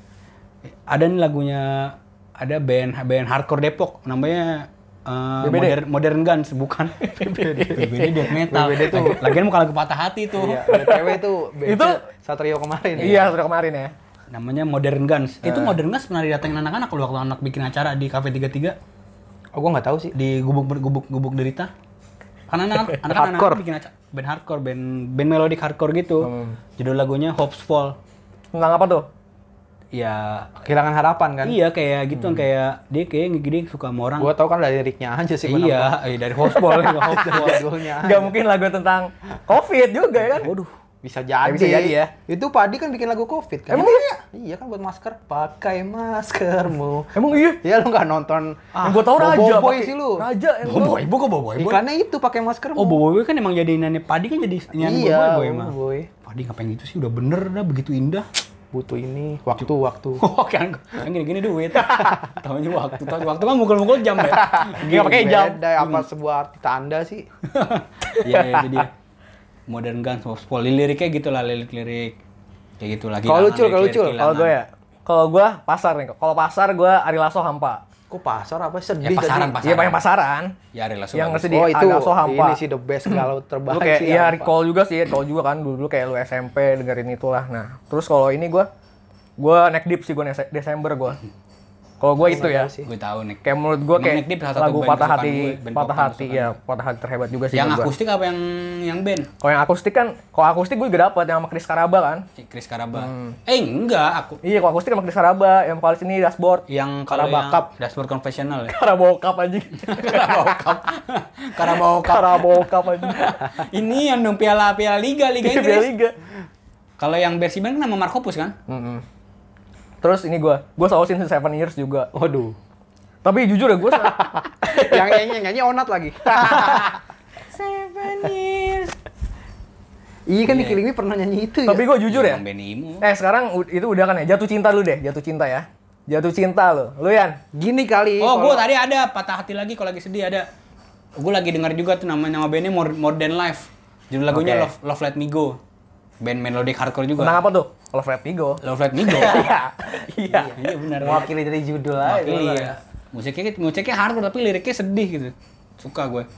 Speaker 2: Hmm.
Speaker 1: ada nih lagunya ada band band hardcore Depok namanya eh,
Speaker 2: BBD?
Speaker 1: modern modern guns bukan BBD BBD death metal BBD tuh lagian bukan lagu patah hati tuh
Speaker 3: Iya, ada cewek tuh.
Speaker 2: Itu?
Speaker 3: Itu Satrio kemarin. ya.
Speaker 2: Iya, sudah kemarin ya.
Speaker 1: namanya modern guns
Speaker 3: Eh.
Speaker 1: itu modern guns pernah didatengin anak-anak loh waktu anak bikin acara di cafe 33
Speaker 3: Oh, gue nggak tahu sih.
Speaker 1: di gubuk gubuk gubuk derita karena anak anak
Speaker 3: Hardcore. Hmm.
Speaker 1: bikin acara band hardcore band band melodic hardcore gitu judul lagunya Hopes Fall
Speaker 2: Tentang apa tuh?
Speaker 1: ya
Speaker 3: Kehilangan harapan kan.
Speaker 1: iya kayak gitu kayak dia kayak gede suka sama orang
Speaker 3: Gue tau kan dari liriknya aja sih. kenapa.
Speaker 1: iya eh, dari Hopes Fall ya, Hopes Fall
Speaker 3: Judulnya.
Speaker 1: Iya.
Speaker 2: Gak mungkin lagu tentang COVID juga ya kan?
Speaker 1: waduh
Speaker 3: Bisa jadi.
Speaker 2: Ya, bisa jadi ya.
Speaker 3: Itu Padi kan bikin lagu Covid kan.
Speaker 2: Emang
Speaker 3: iya? Iya kan buat masker. Pakai maskermu.
Speaker 2: Emang iya?
Speaker 3: Ya lu nggak nonton.
Speaker 2: Ah, yang gue tau
Speaker 3: Bobo
Speaker 2: Raja.
Speaker 3: Boy
Speaker 2: pakai-
Speaker 3: sih lu.
Speaker 2: Raja yang gua-
Speaker 1: boy boy kok boy boy
Speaker 3: Iklannya itu pakai maskermu.
Speaker 1: oh boy boy kan emang jadi nenek padi kan jadi nyanyi
Speaker 3: Iya,
Speaker 1: boy boy
Speaker 3: Bobo
Speaker 1: emang
Speaker 3: Boy.
Speaker 1: padi ngapain gitu sih udah bener dah begitu indah
Speaker 3: Butuh ini. Waktu, waktu.
Speaker 1: Oh kan, kan gini-gini duit. Tahunya waktu, tahu waktu kan mukul-mukul jam ya.
Speaker 3: Gak
Speaker 1: Nggak pakai jam.
Speaker 3: Beda, ya, apa sebuah arti tanda sih.
Speaker 1: Iya, iya, itu dia. Modern Guns of Paul. Liriknya gitu lah, lirik-lirik. Kayak gitu lagi.
Speaker 3: Kalau lucu, kalau lucu.
Speaker 2: Kalau gue ya, kalau gue pasar nih. Kalau pasar gue Ari Lasso hampa.
Speaker 3: Kok pasar apa sedih
Speaker 1: Ya pasaran,
Speaker 3: tadi?
Speaker 1: pasaran.
Speaker 2: Iya banyak pasaran.
Speaker 1: Ya Ari Lasso
Speaker 2: Yang
Speaker 1: bagus.
Speaker 2: ngasih di
Speaker 3: Oh itu
Speaker 2: Ari Lasso hampa.
Speaker 3: ini sih the best galau terbaik
Speaker 2: Lu kayak
Speaker 3: sih.
Speaker 1: ya,
Speaker 3: ya,
Speaker 2: iya
Speaker 3: apa?
Speaker 2: recall juga sih, recall juga kan dulu, dulu kayak lu SMP dengerin itulah. Nah, terus kalau ini gue gue neck deep sih gue Desember gue. Kalau gue itu ya.
Speaker 3: sih.
Speaker 1: Gue tahu nih.
Speaker 2: Kayak menurut
Speaker 1: Iya
Speaker 2: gue
Speaker 1: Emang
Speaker 2: kayak
Speaker 1: Neck Deep salah satu
Speaker 2: lagu
Speaker 1: band
Speaker 2: patah
Speaker 1: kesukaan
Speaker 2: hati,
Speaker 1: gue, band
Speaker 2: patah
Speaker 1: pop
Speaker 2: hati ya, patah hati terhebat juga sih.
Speaker 1: Yang
Speaker 2: menurut gua.
Speaker 1: akustik apa yang yang band?
Speaker 2: Kalau yang akustik kan, kalau akustik gue juga dapet yang sama Chris Karaba kan.
Speaker 1: Si Chris Karaba.
Speaker 2: Hmm.
Speaker 1: Eh enggak, aku
Speaker 2: Iya, kalau akustik sama Chris Karaba, yang vokalis ini dashboard.
Speaker 1: yang kalau
Speaker 3: Karaba Cup.
Speaker 1: yang dashboard konvensional ya.
Speaker 2: Karabokap anjing.
Speaker 1: Karabokap. Karabokap.
Speaker 2: Karabokap anjing.
Speaker 1: Ini yang dong piala piala liga liga
Speaker 2: Liga
Speaker 1: Inggris.
Speaker 2: Liga.
Speaker 1: Kalau yang versi band kan nama Markopus kan?
Speaker 2: Terus ini gue, gue sausin Seven Years juga.
Speaker 3: Waduh.
Speaker 2: Tapi jujur ya gue,
Speaker 3: yang nyanyi nyanyi onat lagi.
Speaker 1: Seven years.
Speaker 3: Iya kan di Killing Me pernah nyanyi itu
Speaker 2: tapi
Speaker 3: ya.
Speaker 2: gue jujur ya.
Speaker 1: Yang band emo.
Speaker 2: Eh sekarang u- itu udah kan ya, jatuh cinta lu deh, jatuh cinta ya. Jatuh cinta lu. Lu Yan,
Speaker 3: Gini
Speaker 2: Eh,
Speaker 3: kali.
Speaker 1: Oh, gue
Speaker 3: kalau-
Speaker 1: tadi ada patah hati lagi kalau lagi sedih ada. Gue lagi dengar juga tuh nama nama bandnya More, More Than Life. Judul lagunya
Speaker 2: Oke.
Speaker 1: Love, Love Let Me Go. Band melodic hardcore juga.
Speaker 2: tentang apa tuh? Love Red Migo.
Speaker 1: Love Let Me Go.
Speaker 2: Iya.
Speaker 1: Iya benar.
Speaker 3: mewakili dari judul aja.
Speaker 1: Mewakili ya. Musiknya musiknya hardcore tapi liriknya sedih gitu. Suka gue.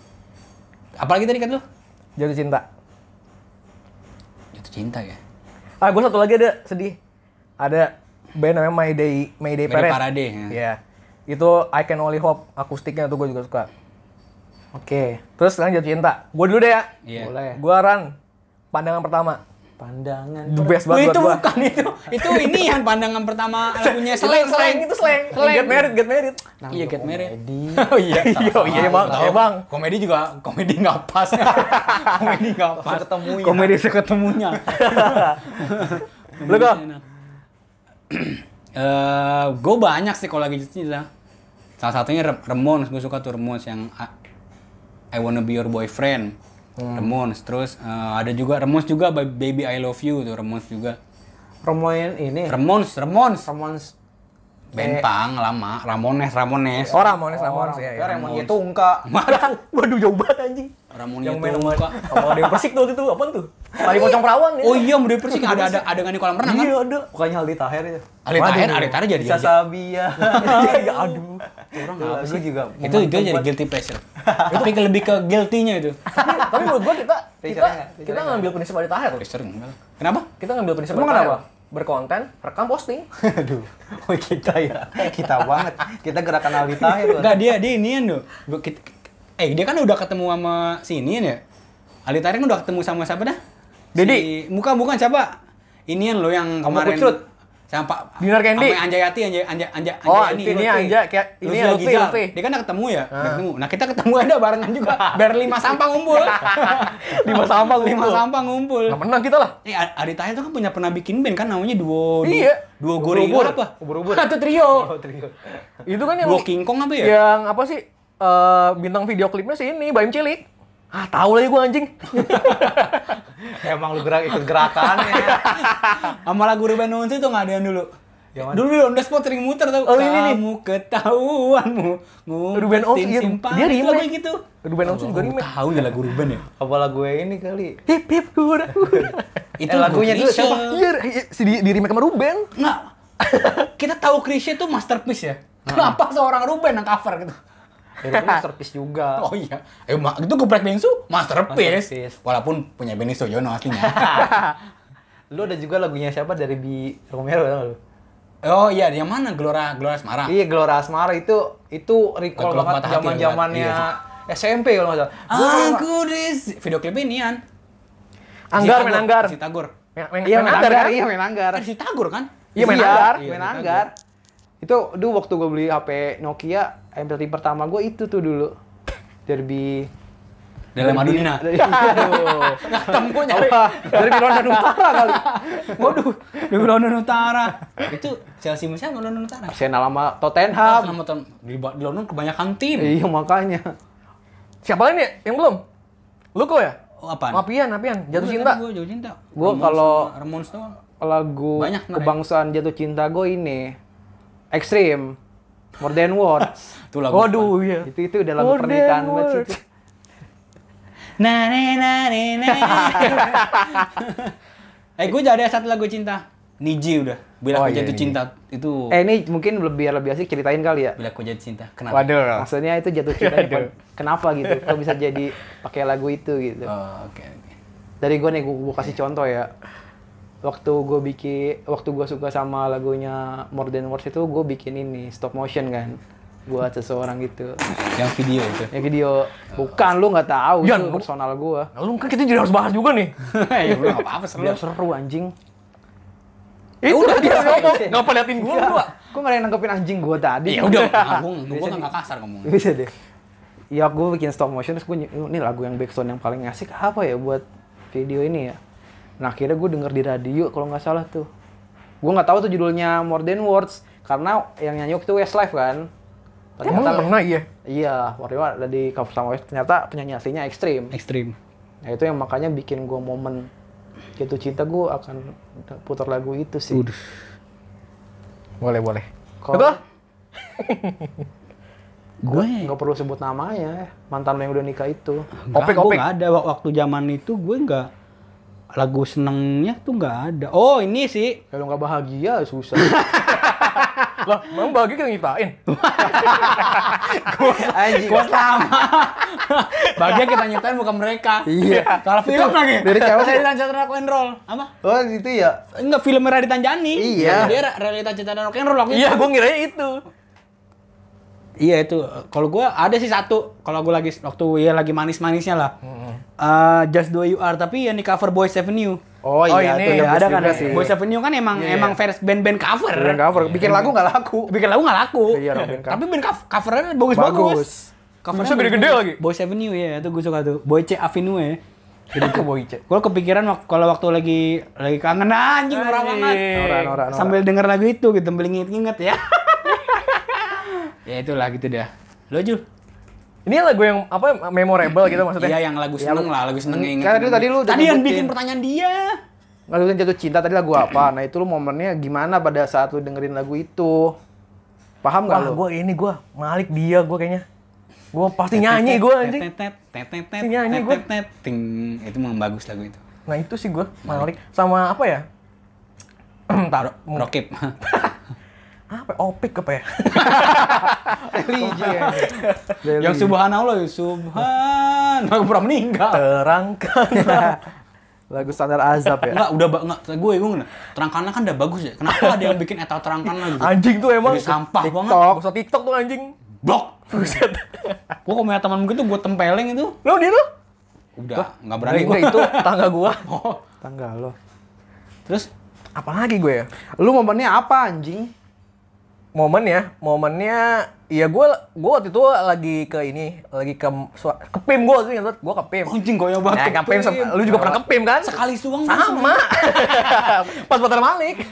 Speaker 1: Apalagi tadi kan lu?
Speaker 2: Jatuh cinta.
Speaker 1: Jatuh cinta ya.
Speaker 2: Ah, gue satu lagi ada sedih. Ada band namanya My Day My Day
Speaker 1: Band
Speaker 2: Parade.
Speaker 1: Parade, ya.
Speaker 2: Iya. Itu I Can Only Hope akustiknya tuh gue juga suka.
Speaker 3: Oke.
Speaker 2: Terus sekarang jatuh cinta. Gue dulu deh ya.
Speaker 1: Iya.
Speaker 3: Boleh.
Speaker 2: Gue Ran. Pandangan pertama.
Speaker 3: Pandangan.
Speaker 2: The best
Speaker 1: Oh,
Speaker 2: banget
Speaker 1: itu
Speaker 2: buat gua.
Speaker 1: bukan itu. Itu ini yang pandangan pertama lagunya Slang.
Speaker 2: Slang, slang, itu slang.
Speaker 1: Slang.
Speaker 2: Get married, get married.
Speaker 1: Iya, Get Married.
Speaker 3: Komedi.
Speaker 1: Oh iya.
Speaker 2: Nah, Iya, iya emang,
Speaker 1: Tahu.
Speaker 2: emang.
Speaker 1: Komedi juga komedi nggak pas. komedi nggak pas.
Speaker 3: Ketemu ya.
Speaker 5: Komedi seketemunya.
Speaker 2: Lu kok?
Speaker 1: Eh, gue banyak sih kalau lagi cerita. Salah satunya Rem- Ramones, gue suka tuh Ramones yang I, I Wanna Be Your Boyfriend.
Speaker 2: Hmm.
Speaker 1: Ramones, terus eh, ada juga Ramones juga Ba- Baby I Love You tuh Ramones juga.
Speaker 3: Romoin ini.
Speaker 1: Ramones, Ramones.
Speaker 3: Ramons.
Speaker 1: Bentang lama, Ramones, Ramones.
Speaker 2: Oh, Ramones, Ramones. ya, ya.
Speaker 3: Ya, Ramon itu enggak.
Speaker 2: Waduh, jauh banget anjing.
Speaker 1: Ramones
Speaker 2: Yang
Speaker 1: itu
Speaker 2: main sama
Speaker 1: muka.
Speaker 2: sama Dewi Persik tuh waktu itu, apaan tuh? Kali pocong perawan ya.
Speaker 1: Oh iya, Dewi Persik ada ada adegan di kolam renang kan?
Speaker 2: Iya, ada.
Speaker 6: Bukannya Aldi Taher ya?
Speaker 1: Ali Tahir, Ali Tahir jadi
Speaker 6: Bisa
Speaker 1: aja.
Speaker 6: Sabia.
Speaker 2: Iya, aduh.
Speaker 1: Orang
Speaker 6: Itu
Speaker 1: apa
Speaker 6: lagu
Speaker 1: sih?
Speaker 6: juga
Speaker 1: Itu itu
Speaker 6: momentum
Speaker 1: jadi
Speaker 6: buat-
Speaker 1: guilty pleasure. Tapi ke- lebih ke guilty-nya itu.
Speaker 2: Tapi- Tapi menurut gua kita kita
Speaker 6: Feature-nya,
Speaker 2: kita ngambil prinsip dari Tahir.
Speaker 1: Pleasure enggak lah. Kenapa?
Speaker 2: Kita ngambil prinsip
Speaker 3: Emang
Speaker 2: dari Tahir.
Speaker 3: kenapa?
Speaker 2: Berkonten, rekam posting.
Speaker 6: Aduh. Oh, kita ya. Kita banget. Kita gerakan Aldi Taher. loh.
Speaker 1: Enggak dia dia inian do. Gua- kit- Eh dia kan udah ketemu sama si inian ya. Ali Tahir kan udah ketemu sama siapa dah?
Speaker 2: Didi.
Speaker 1: Si, bukan bukan siapa? Inian lo yang
Speaker 2: Sama
Speaker 1: kemarin.
Speaker 2: Kucut.
Speaker 1: Sama Pak.
Speaker 2: Dinar Candy.
Speaker 1: Sama Anjayati Anjay Anjay Anjay
Speaker 2: Oh,
Speaker 1: Anjayani,
Speaker 2: ini
Speaker 1: Lutfi.
Speaker 2: aja kayak ini
Speaker 1: Lutfi
Speaker 2: ya Lutfi,
Speaker 1: Al-Ghizal.
Speaker 2: Lutfi. Ah.
Speaker 1: Dia kan udah ketemu ya, udah ketemu. Nah kita ketemu ada barengan juga, biar lima sampah ngumpul.
Speaker 2: Lima sampah
Speaker 1: lima sampah ngumpul.
Speaker 2: Nggak menang kita lah.
Speaker 1: Eh, A- Adi Tahir tuh kan punya pernah bikin band kan namanya duo duo-
Speaker 2: Iya.
Speaker 1: duo
Speaker 2: Ubur-ubur.
Speaker 1: gorilla apa?
Speaker 2: Ubur-ubur. Oh,
Speaker 1: Atau trio.
Speaker 2: Itu kan yang
Speaker 1: Duo King Kong apa ya?
Speaker 2: Yang apa sih? eh, bintang video klipnya sih ini Baim Cilik. Ah, tahu lagi gua anjing.
Speaker 6: Emang lu gerak ikut gerakannya.
Speaker 1: Sama lagu Ruben Once itu nggak ada yang dulu.
Speaker 6: Yang mana?
Speaker 1: Dulu di On The Spot sering muter tau.
Speaker 2: Ya, Oh, ini nih.
Speaker 1: Kamu ketahuanmu.
Speaker 2: Ruben Once, iya.
Speaker 1: simpan.
Speaker 2: Dia
Speaker 1: Itu
Speaker 2: remake.
Speaker 1: lagu gitu.
Speaker 2: Ruben Onsu juga remake. Eh,
Speaker 1: Tahu ya lagu Ruben ya?
Speaker 6: Apalah gue ini kali.
Speaker 2: Hip hip hura hura.
Speaker 1: Itu
Speaker 6: Eh, lagunya
Speaker 1: lagu
Speaker 6: tuh
Speaker 1: Krisye.
Speaker 6: siapa?
Speaker 2: Iya, iya, si di, di remake sama Ruben.
Speaker 1: Nggak. Kita tahu Krisye itu masterpiece ya. Kenapa seorang Ruben yang cover gitu?
Speaker 6: Ya, itu masterpiece juga.
Speaker 1: Oh iya, eh, ma- itu geprek bengsu masterpiece.
Speaker 6: Masterpiece.
Speaker 1: Walaupun punya Benny Sujono aslinya.
Speaker 6: Lu ada juga lagunya siapa dari Bi Romero tau nggak lu?
Speaker 1: oh iya, yang mana Gelora Gelora Semarang?
Speaker 6: Iya Gelora Asmara itu itu recall
Speaker 1: Lagu
Speaker 6: banget
Speaker 1: patah hati
Speaker 6: zaman-zamannya
Speaker 1: yang
Speaker 6: SMP kalau nggak salah. Gua
Speaker 3: Ah,
Speaker 6: kalau nggak-
Speaker 1: Aku di si- video klip ini an.
Speaker 2: Anggar,
Speaker 1: Sitagor,
Speaker 2: main anggar.
Speaker 1: Sitagor.
Speaker 2: Main, main,
Speaker 3: Iya,
Speaker 2: main anggar kan?
Speaker 3: Iya, main anggar.
Speaker 1: Kan Sitagor kan?
Speaker 2: Iya, main anggar.
Speaker 3: Iya, main anggar. Itu dulu waktu gue beli HP Nokia, MP3 pertama gue itu tuh dulu. Derby
Speaker 1: Dalam Madunina.
Speaker 3: Aduh.
Speaker 1: Tempo nyari.
Speaker 3: Derby London Utara kali.
Speaker 1: Waduh, di London Utara. Itu Chelsea musim sama London Utara.
Speaker 3: Arsenal sama
Speaker 2: Iya.
Speaker 1: Ah,
Speaker 3: Tottenham.
Speaker 1: sama tem- di ba- di London kebanyakan tim.
Speaker 3: Iya, makanya.
Speaker 2: Siapa lagi nih yang belum? Lu kok ya?
Speaker 1: Oh, apaan?
Speaker 2: Mapian, Mapian,
Speaker 1: Gua
Speaker 2: jatuh cinta.
Speaker 1: kan, Gua jatuh cinta.
Speaker 3: Gua
Speaker 1: Ramones
Speaker 3: kalau-
Speaker 1: sama Ramones doang.
Speaker 3: Lagu
Speaker 1: Banyak, Nay.
Speaker 3: kebangsaan jatuh cinta gue ini. Extreme. More than words.
Speaker 1: Itu lagu.
Speaker 2: Waduh, iya.
Speaker 3: itu itu udah lagu
Speaker 2: More than
Speaker 3: pernikahan banget sih
Speaker 2: words.
Speaker 3: itu.
Speaker 1: Na na na na na. Eh, gue jadi satu lagu cinta. Niji udah. Bila
Speaker 2: Oh,
Speaker 1: aku
Speaker 2: iya,
Speaker 1: jatuh
Speaker 2: Niji.
Speaker 1: cinta itu
Speaker 3: Eh ini mungkin lebih biar lebih asik ceritain kali ya.
Speaker 1: bila aku jatuh cinta. Kenapa?
Speaker 2: Waduh.
Speaker 3: Maksudnya itu
Speaker 2: Iya,
Speaker 3: jatuh cinta depan- kenapa gitu? Kok bisa jadi pakai lagu itu gitu?
Speaker 1: Oh, Oke, oke.
Speaker 3: Dari gue nih gue, kasih contoh ya. Waktu gue bikin waktu gue suka sama lagunya More Than Words itu gue bikin ini stop motion kan buat seseorang gitu.
Speaker 1: Yang video itu.
Speaker 3: Ya video bukan lu nggak tahu
Speaker 2: Yan,
Speaker 3: itu
Speaker 2: lu-
Speaker 3: personal gue.
Speaker 2: Nah, lu kan kita jadi harus bahas juga nih.
Speaker 1: ya belum apa-apa seru.
Speaker 3: Biar seru anjing. Ya
Speaker 2: Itu udah dia
Speaker 3: selesai.
Speaker 2: ngomong, enggak pada liatin
Speaker 3: Iya.
Speaker 2: gua gua.
Speaker 3: Gue malah yang nangkepin anjing gue tadi.
Speaker 1: Ya udah, ngomong. Gue
Speaker 3: Biasa
Speaker 1: kan
Speaker 3: di-
Speaker 1: nggak kasar ngomong.
Speaker 3: bisa deh ya gue bikin stop motion terus gue ini lagu yang backsound yang paling asik apa ya buat video ini ya nah akhirnya gue denger di radio kalau nggak salah tuh gue nggak tahu tuh judulnya More Than Words karena yang nyanyi waktu itu Westlife kan
Speaker 2: Emang pernah iya.
Speaker 3: iya waktu itu ada di cover sama West ternyata penyanyi aslinya ekstrim
Speaker 1: Ekstrim.
Speaker 3: nah itu yang makanya bikin gue momen jatuh cinta gue akan putar lagu itu sih
Speaker 2: Boleh, boleh.
Speaker 3: Kalau-
Speaker 2: Betul?
Speaker 1: Gue
Speaker 3: nggak perlu sebut namanya mantan lo yang udah nikah itu
Speaker 2: Opik,
Speaker 1: Opik,
Speaker 2: opik.
Speaker 1: opik. Gak ada Wak- waktu zaman itu gue nggak lagu senengnya tuh nggak ada. Oh ini sih.
Speaker 3: kalau nggak bahagia susah
Speaker 2: Lah, memang bahagia kita ngitain.
Speaker 3: anjing
Speaker 1: Gue sama. Bagian kita nyetain bukan mereka.
Speaker 3: Iya.
Speaker 1: Kalau film lagi.
Speaker 3: Dari cewek.
Speaker 1: Dari Tanjat Rock and Roll. Apa?
Speaker 6: Oh itu ya.
Speaker 1: Enggak film Radit Tanjani.
Speaker 3: Iya.
Speaker 1: Dia Ra- realita cinta dan rock and roll waktu
Speaker 2: Iya,
Speaker 1: itu.
Speaker 2: gua ngiranya itu.
Speaker 1: Iya itu. Kalau gue ada sih satu. Kalau gue lagi waktu ya lagi manis-manisnya lah. Eh, Just the way you are tapi yang di cover Boys Avenue.
Speaker 3: Oh,
Speaker 2: Oh,
Speaker 3: iya, tuh,
Speaker 2: ini yang
Speaker 3: ya, ada
Speaker 2: Boys
Speaker 3: kan
Speaker 2: Avenue.
Speaker 3: sih.
Speaker 1: Boys Avenue kan emang
Speaker 2: Iya, iya.
Speaker 1: emang fans band-band cover. Iya.
Speaker 3: Bikin cover, bikin lagu nggak laku.
Speaker 1: Bikin lagu nggak laku.
Speaker 3: Iya, dong, band cover.
Speaker 1: Tapi band cover- covernya bagus-bagus.
Speaker 3: Bagus.
Speaker 1: Covernya
Speaker 2: Bisa gede-gede
Speaker 1: bagus-bagus.
Speaker 2: lagi.
Speaker 1: Boys Avenue ya, itu gue suka tuh. Boyce Avenue ya.
Speaker 2: Boyce.
Speaker 1: Gue kepikiran wak- kalau waktu lagi lagi kangen anjing norak banget.
Speaker 3: Nora, Nora, Nora.
Speaker 1: Sambil denger lagu itu gitu, sambil inget-inget ya. ya itulah gitu dah. Lo Jul?
Speaker 2: Ini lagu yang apa memorable gitu maksudnya?
Speaker 4: Iya yang lagu seneng lah, lagu seneng yang
Speaker 3: Kan tadi tadi lu udah
Speaker 1: Tadi yang
Speaker 3: nyebutin-
Speaker 1: bikin pertanyaan dia.
Speaker 3: ngelakuin jatuh cinta tadi lagu apa? Nah itu lu momennya gimana pada saat lu dengerin lagu itu? Paham nggak
Speaker 2: Wah,
Speaker 3: lu?
Speaker 2: gue ini gue Malik dia gue kayaknya. Gue pasti nyanyi gue anjing.
Speaker 4: Tetet, tetet, tetet,
Speaker 2: Si nyanyi gua.
Speaker 4: tetet, ting. Itu memang bagus lagu itu.
Speaker 2: Nah itu sih gue Malik sama apa ya? Taruh
Speaker 4: Rokip.
Speaker 2: apa? Opik apa ya?
Speaker 4: yang Ya, subhanallah, subhan. Aku pernah meninggal.
Speaker 2: Terangkan.
Speaker 3: Lagu standar azab ya.
Speaker 4: Enggak, udah ba- enggak gue gue nggak. Terangkana kan udah bagus ya. Kenapa ada yang bikin eta terangkana gitu?
Speaker 2: anjing tuh emang.
Speaker 4: Jadi sampah banget.
Speaker 2: TikTok. Gak usah TikTok tuh anjing.
Speaker 4: Blok.
Speaker 2: Buset.
Speaker 4: Gue kalau punya teman gitu gue tempeleng itu.
Speaker 2: Lu dia lu?
Speaker 4: Udah, nggak berani
Speaker 2: Enggak,
Speaker 4: gue.
Speaker 2: itu tangga gua.
Speaker 3: Tanggal lo.
Speaker 4: Terus
Speaker 2: Apalagi gue ya?
Speaker 3: Lu momennya apa anjing?
Speaker 2: Momen ya, momennya ya gue gue waktu itu lagi ke ini, lagi ke sua- ke PIM gue waktu itu ingat gue ke PIM.
Speaker 4: anjing goyah
Speaker 2: Nah,
Speaker 4: banget.
Speaker 2: ke PIM, sem- lu juga pernah ke PIM kan?
Speaker 4: Sekali suang gua
Speaker 2: Sama. Pas putar Malik.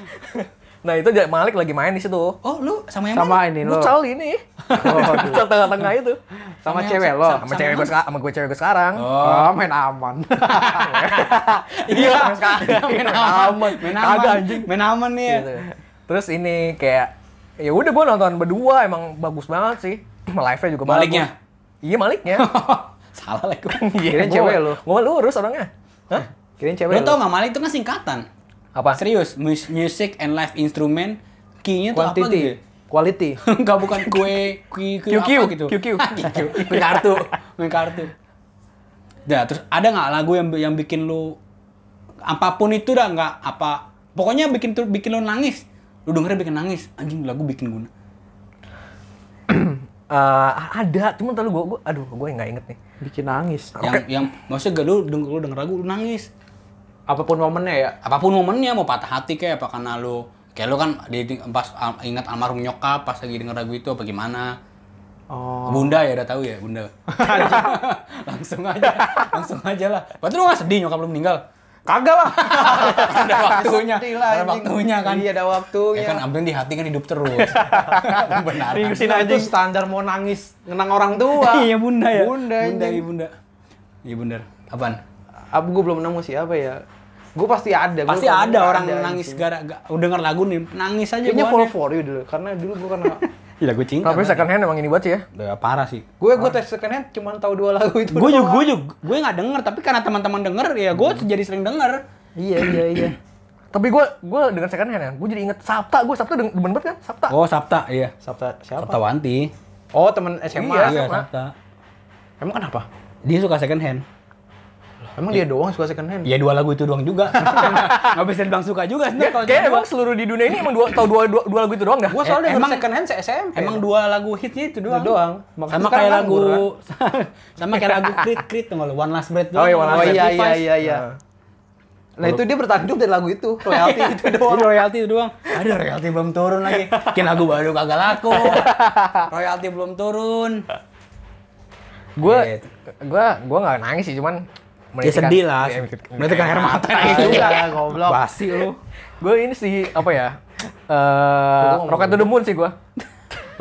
Speaker 2: Nah, itu dia- Malik lagi main di situ.
Speaker 4: Oh, lu sama yang
Speaker 3: Sama ini lo.
Speaker 2: Bucal ini. Bucal tengah-tengah itu.
Speaker 3: Sama
Speaker 4: yang-
Speaker 3: cewek lo.
Speaker 2: Sama cewek gue sekarang, sama gue cewek gue sekarang.
Speaker 3: Oh, main aman.
Speaker 2: Iya, sama sekarang.
Speaker 4: main aman, main aman,
Speaker 2: Kagak, anjing.
Speaker 4: main aman nih. ya.
Speaker 2: gitu. Terus ini kayak ya udah gue nonton berdua emang bagus banget sih. Live-nya juga
Speaker 4: Maliknya?
Speaker 2: bagus. Iya maliknya.
Speaker 4: Salah lah gue.
Speaker 2: Iya,
Speaker 3: Kirain cewek lu.
Speaker 2: Gue lurus orangnya. Hah?
Speaker 3: Kirain
Speaker 4: Lo
Speaker 3: cewek
Speaker 4: tau
Speaker 3: lo.
Speaker 4: nggak Malik itu kan singkatan.
Speaker 2: Apa?
Speaker 4: Serius, mus- music and live instrument key-nya tuh apa gitu? ya?
Speaker 3: Quantity, quality.
Speaker 4: Enggak bukan kue kue kue
Speaker 2: QQ,
Speaker 4: apa gitu.
Speaker 2: QQ.
Speaker 4: QQ. Main kartu, main kartu. Nah, terus ada nggak lagu yang yang bikin lu apapun itu dah nggak apa pokoknya bikin tuh bikin lu nangis. Lu dengerin bikin nangis. Anjing lagu bikin guna.
Speaker 2: Eh, ada, cuman tadi gue, aduh gue nggak inget nih.
Speaker 3: Bikin nangis.
Speaker 4: Yang yang maksudnya gak lu denger lu denger lagu lu nangis.
Speaker 3: Apapun momennya ya.
Speaker 4: Apapun momennya mau patah hati kayak apa karena lu kayak lu kan di, di- pas al- ingat almarhum nyokap pas lagi denger lagu itu apa gimana.
Speaker 3: Oh.
Speaker 4: Bunda ya udah tahu ya, Bunda. langsung aja, langsung aja lah. Berarti lu gak sedih nyokap lu meninggal?
Speaker 3: Kagak lah.
Speaker 4: ada waktunya,
Speaker 3: Sedih lah,
Speaker 4: ada
Speaker 3: anjing.
Speaker 4: waktunya kan.
Speaker 3: Iya,
Speaker 4: Ya
Speaker 3: ada waktunya.
Speaker 4: kan abang di hati kan hidup terus. Benar.
Speaker 3: Nah, itu standar mau nangis ngenang orang tua.
Speaker 1: Iya bunda ya.
Speaker 3: Bunda.
Speaker 4: Bunda,
Speaker 3: anjing.
Speaker 4: iya bunda. Iya bener. Apaan?
Speaker 3: Apa gue belum nemu sih apa ya? Gue pasti ada. Iya, gua
Speaker 4: Pasti
Speaker 3: pernah
Speaker 4: ada orang
Speaker 3: anjing.
Speaker 4: nangis gara gara udah denger lagu nih, nangis aja
Speaker 3: Kayaknya
Speaker 4: gua
Speaker 3: Fall For You dulu, karena dulu gue karena
Speaker 4: aneh. Ih,
Speaker 3: Iya,
Speaker 4: lagu cinta.
Speaker 2: Tapi second hand emang ini buat sih ya.
Speaker 4: Udah parah sih.
Speaker 3: gue gue tes second hand cuma tahu dua lagu itu.
Speaker 1: Gue juga,
Speaker 3: doang.
Speaker 1: gue juga, gue nggak denger. Tapi karena teman-teman denger, ya gue jadi sering denger.
Speaker 3: Iya iya iya.
Speaker 2: Tapi gue gue dengan second hand ya, gue jadi inget Sabta, gue Sabta deng- demen banget kan, Sabta.
Speaker 1: Oh Sabta, iya.
Speaker 3: Sabta siapa?
Speaker 1: Sabta Wanti.
Speaker 3: Oh temen SMA.
Speaker 2: Iya,
Speaker 1: Iya
Speaker 2: sama.
Speaker 1: Sabta.
Speaker 3: Emang kenapa?
Speaker 1: Dia suka second hand.
Speaker 3: Emang dia doang suka second hand?
Speaker 1: Ya dua lagu itu doang juga. Ya, Nggak bisa dibilang suka juga. sebenarnya kalau
Speaker 2: Kayak
Speaker 1: dua.
Speaker 2: emang seluruh di dunia ini emang dua, tau dua, dua, dua lagu itu doang dah.
Speaker 3: Gue soalnya
Speaker 1: Eh,
Speaker 3: emang
Speaker 1: emang-
Speaker 3: second hand se SMP.
Speaker 1: Emang dua lagu hitnya itu doang.
Speaker 3: Itu doang. Makanya
Speaker 1: Sama
Speaker 3: sekarang
Speaker 1: kayak
Speaker 3: kan
Speaker 1: lagu
Speaker 3: murah.
Speaker 1: sama kayak lagu Creed Creed tuh lo One Last Breath
Speaker 2: Oh iya, One Last
Speaker 3: Oh
Speaker 2: Breath.
Speaker 3: iya
Speaker 1: Levi's.
Speaker 3: iya iya iya. Nah itu dia bertanjung dari lagu itu, royalty itu doang.
Speaker 1: Jadi royalty itu doang. Aduh royalty belum turun lagi. Bikin lagu baru kagak laku. royalty belum turun.
Speaker 2: Gue gue gue nggak nangis sih, cuman
Speaker 1: Ya
Speaker 2: menitikan-
Speaker 1: sedih lah.
Speaker 2: Ya,
Speaker 1: Berarti kan air mata
Speaker 3: Ah, iya, goblok.
Speaker 1: Basi lu.
Speaker 2: Gue ini sih apa ya? Eh, Rocket to the Moon sih gue.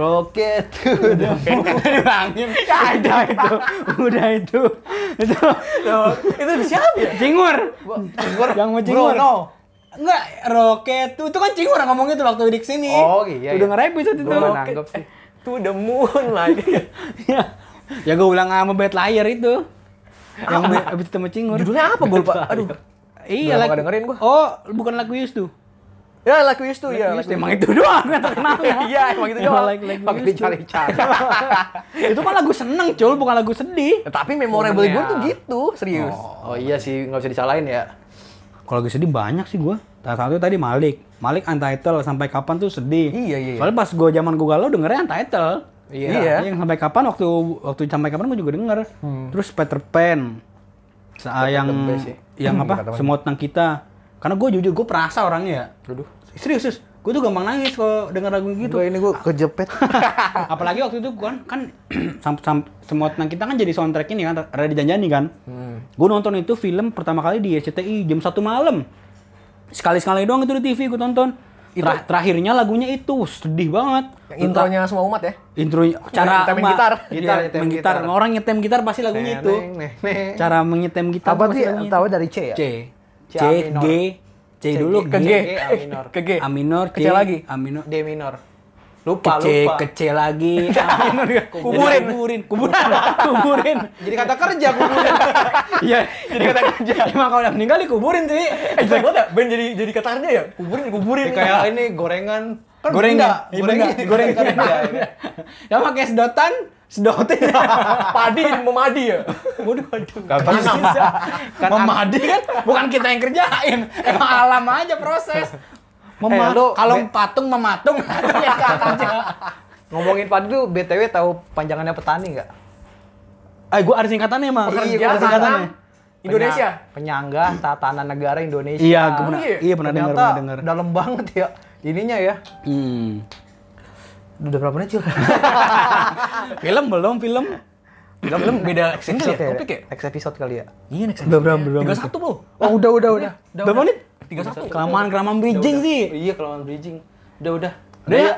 Speaker 3: Rocket to the
Speaker 4: Nangis.
Speaker 1: Ada itu. Udah itu. Itu.
Speaker 2: itu siapa ya?
Speaker 1: Cingur. Yang mau cingur.
Speaker 3: Bruno.
Speaker 4: Enggak, roket tuh itu kan cingur ngomongnya tuh waktu di sini.
Speaker 3: Oh iya.
Speaker 1: Udah ngerap itu itu.
Speaker 3: Gue nanggep sih.
Speaker 2: To the Moon lagi.
Speaker 1: Ya. Ya gue ulang sama Bad Liar itu. Yang be- abis itu sama cingur.
Speaker 2: Ah, Judulnya apa gue lupa? Aduh.
Speaker 1: Iya
Speaker 2: Udah lama
Speaker 1: lagu-
Speaker 2: gak dengerin gua.
Speaker 1: Oh, bukan lagu Yus tuh.
Speaker 2: Ya, Like We Used To, ya.
Speaker 1: Yus tuh, emang itu doang yang terkenal ya.
Speaker 2: Iya, emang itu
Speaker 1: Emang
Speaker 2: doang.
Speaker 1: Like, like
Speaker 3: Pakai
Speaker 1: Yus tuh.
Speaker 3: dicari-cari.
Speaker 1: itu kan lagu seneng, Cul, bukan lagu sedih.
Speaker 2: Tapi memorable gue tuh gitu, serius.
Speaker 3: Oh iya sih, nggak bisa disalahin ya.
Speaker 1: Kalau lagi sedih banyak sih gua. Salah satu tadi Malik. Malik Untitled sampai kapan tuh sedih.
Speaker 2: Iya, iya, iya.
Speaker 1: Soalnya pas gua zaman gua galau dengernya Untitled.
Speaker 3: Iya.
Speaker 2: Iya.
Speaker 1: Yang sampai kapan waktu waktu sampai kapan gua juga denger. Terus Peter Pan. Sa- yang
Speaker 3: best ya.
Speaker 1: yang apa? Semua tentang kita. Karena gue jujur, gue perasa orangnya ya.
Speaker 3: Aduh.
Speaker 1: Serius, serius. Gue tuh gampang nangis kalau denger lagu gitu.
Speaker 3: Gua ini gue kejepet.
Speaker 1: Apalagi waktu itu kan kan sam- sam- semua tentang kita kan jadi soundtrack ini kan ada di Janjani kan. Gue nonton itu film pertama kali di SCTI jam 1 malam. Sekali-sekali doang itu di TV gue tonton. Terah- terakhirnya lagunya itu sedih banget.
Speaker 2: Yang intronya semua umat ya.
Speaker 1: intro cara
Speaker 2: Nyetem
Speaker 1: ma-
Speaker 2: gitar.
Speaker 1: gitar,
Speaker 7: Iya, nyetem
Speaker 1: main gitar.
Speaker 7: gitar.
Speaker 1: Orang nyetem gitar pasti lagunya itu. Cara menyetem gitar
Speaker 7: Apa
Speaker 1: tuh pasti
Speaker 7: sih?
Speaker 1: lagunya
Speaker 7: Tahu
Speaker 1: itu.
Speaker 7: dari C ya?
Speaker 1: C.
Speaker 7: C,
Speaker 1: C,
Speaker 7: A minor.
Speaker 1: G, C dulu
Speaker 7: G,
Speaker 1: G,
Speaker 7: G, A minor.
Speaker 2: Ke G.
Speaker 1: A minor,
Speaker 2: Ke C lagi.
Speaker 1: A minor,
Speaker 7: D minor.
Speaker 1: ke
Speaker 7: Lupa,
Speaker 1: C,
Speaker 7: lupa.
Speaker 1: ke C lagi, A minor,
Speaker 2: Kuburin.
Speaker 1: kuburin, kuburan, kuburin.
Speaker 7: Jadi kata kerja kuburin.
Speaker 1: Iya, jadi kata kerja. Emang kalau udah meninggal dikuburin sih.
Speaker 2: Eh, jelek banget ya, Ben jadi jadi katarnya ya. Kuburin, kuburin.
Speaker 7: kayak ini gorengan. Kan
Speaker 1: Goreng
Speaker 7: benda,
Speaker 1: ya? Iya,
Speaker 7: Goreng
Speaker 1: benda.
Speaker 7: goreng kerja. ya
Speaker 3: iya.
Speaker 7: kan?
Speaker 1: Ya pakai sedotan, sedotin.
Speaker 2: padi memadi ya.
Speaker 1: Waduh, waduh. Iya, Kan memadi kan bukan kita yang kerjain. Emang alam aja proses. Mema-
Speaker 3: Eh, lu-
Speaker 1: kalau
Speaker 3: be-
Speaker 1: patung mematung ya katanya.
Speaker 3: Ngomongin padi tuh BTW tahu panjangannya petani nggak?
Speaker 1: Eh, gua ada singkatannya emang.
Speaker 2: Pekerja
Speaker 1: Iya, Gua ada singkatannya.
Speaker 2: tanam Indonesia.
Speaker 3: Penya- Penyangga tatanan negara Indonesia.
Speaker 1: Iya, gua pernah,
Speaker 2: iya.
Speaker 1: iya pernah dengar,
Speaker 3: Ternyata
Speaker 1: pernah dengar.
Speaker 3: dalam banget ya ininya ya.
Speaker 1: Hmm.
Speaker 3: Udah berapa menit sih?
Speaker 1: Film belum film?
Speaker 2: Film film beda single ya, topik ya.
Speaker 3: Next episode kali ya.
Speaker 1: Iya, next. Belum, belum, belum.
Speaker 2: Tiga satu bro.
Speaker 3: Oh, udah udah udah.
Speaker 1: Berapa menit? 31. Kelamaan kelamaan bridging sih.
Speaker 7: Iya, kelamaan bridging. Udah, udah.
Speaker 1: Udah ya?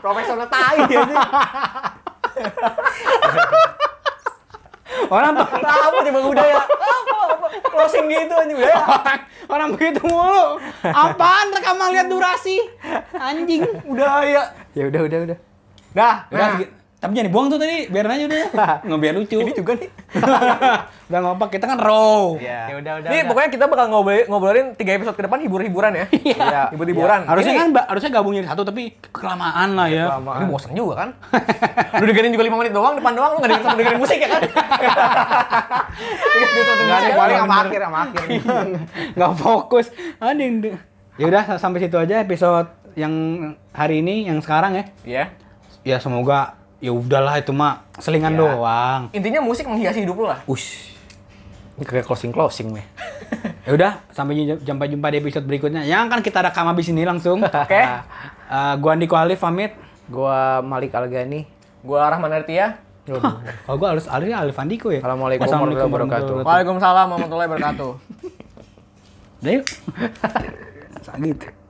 Speaker 2: Profesional tai ya.
Speaker 1: Orang
Speaker 2: Apa nih Bang Uda ya? Apa apa closing gitu anjing udah. ya.
Speaker 1: orang, orang begitu mulu. Apaan rekaman lihat durasi? Anjing.
Speaker 2: Udah ya.
Speaker 3: Ya udah udah udah.
Speaker 2: Dah.
Speaker 1: Udah,
Speaker 2: Nah,
Speaker 1: segi- tapi jangan dibuang tuh tadi, biar aja udah. ya. Nggak biar lucu. Ini juga nih. udah ngopak, kita kan raw.
Speaker 3: Iya.
Speaker 7: Ya udah, udah.
Speaker 2: ini
Speaker 7: udah.
Speaker 2: pokoknya kita bakal ngobrol ngobrolin tiga episode ke depan hibur-hiburan ya.
Speaker 3: Iya.
Speaker 2: Hibur-hiburan.
Speaker 1: Harusnya
Speaker 2: Ini-
Speaker 1: kan ba- harusnya gabung jadi satu tapi kelamaan lah ya.
Speaker 2: Ini bosan juga kan? lu dengerin juga 5 menit doang, depan doang, lu gak dengerin, dengerin musik ya kan?
Speaker 3: Enggak nih paling
Speaker 2: Iya.
Speaker 3: sama akhir sama akhir.
Speaker 1: Nggak fokus. Anjing. Ya udah s- sampai situ aja episode yang hari ini yang sekarang ya.
Speaker 2: Iya.
Speaker 1: Ya semoga ya udahlah itu mah selingan doang.
Speaker 2: Intinya musik menghiasi hidup lu lah.
Speaker 1: Ush.
Speaker 3: Ini kayak closing closing nih.
Speaker 1: Ya udah, sampai jum- jumpa jumpa di episode berikutnya. Yang akan kita rekam habis ini langsung. Oke.
Speaker 2: Oke.
Speaker 1: gua Andiko Alif pamit.
Speaker 3: Gua Malik Algani.
Speaker 2: Gua Rahman Artia.
Speaker 1: Kalau Oh, gua Alif Alif Alif Andiko ya.
Speaker 3: Assalamualaikum warahmatullahi wabarakatuh.
Speaker 2: Waalaikumsalam warahmatullahi wabarakatuh.
Speaker 1: Udah yuk. Sakit.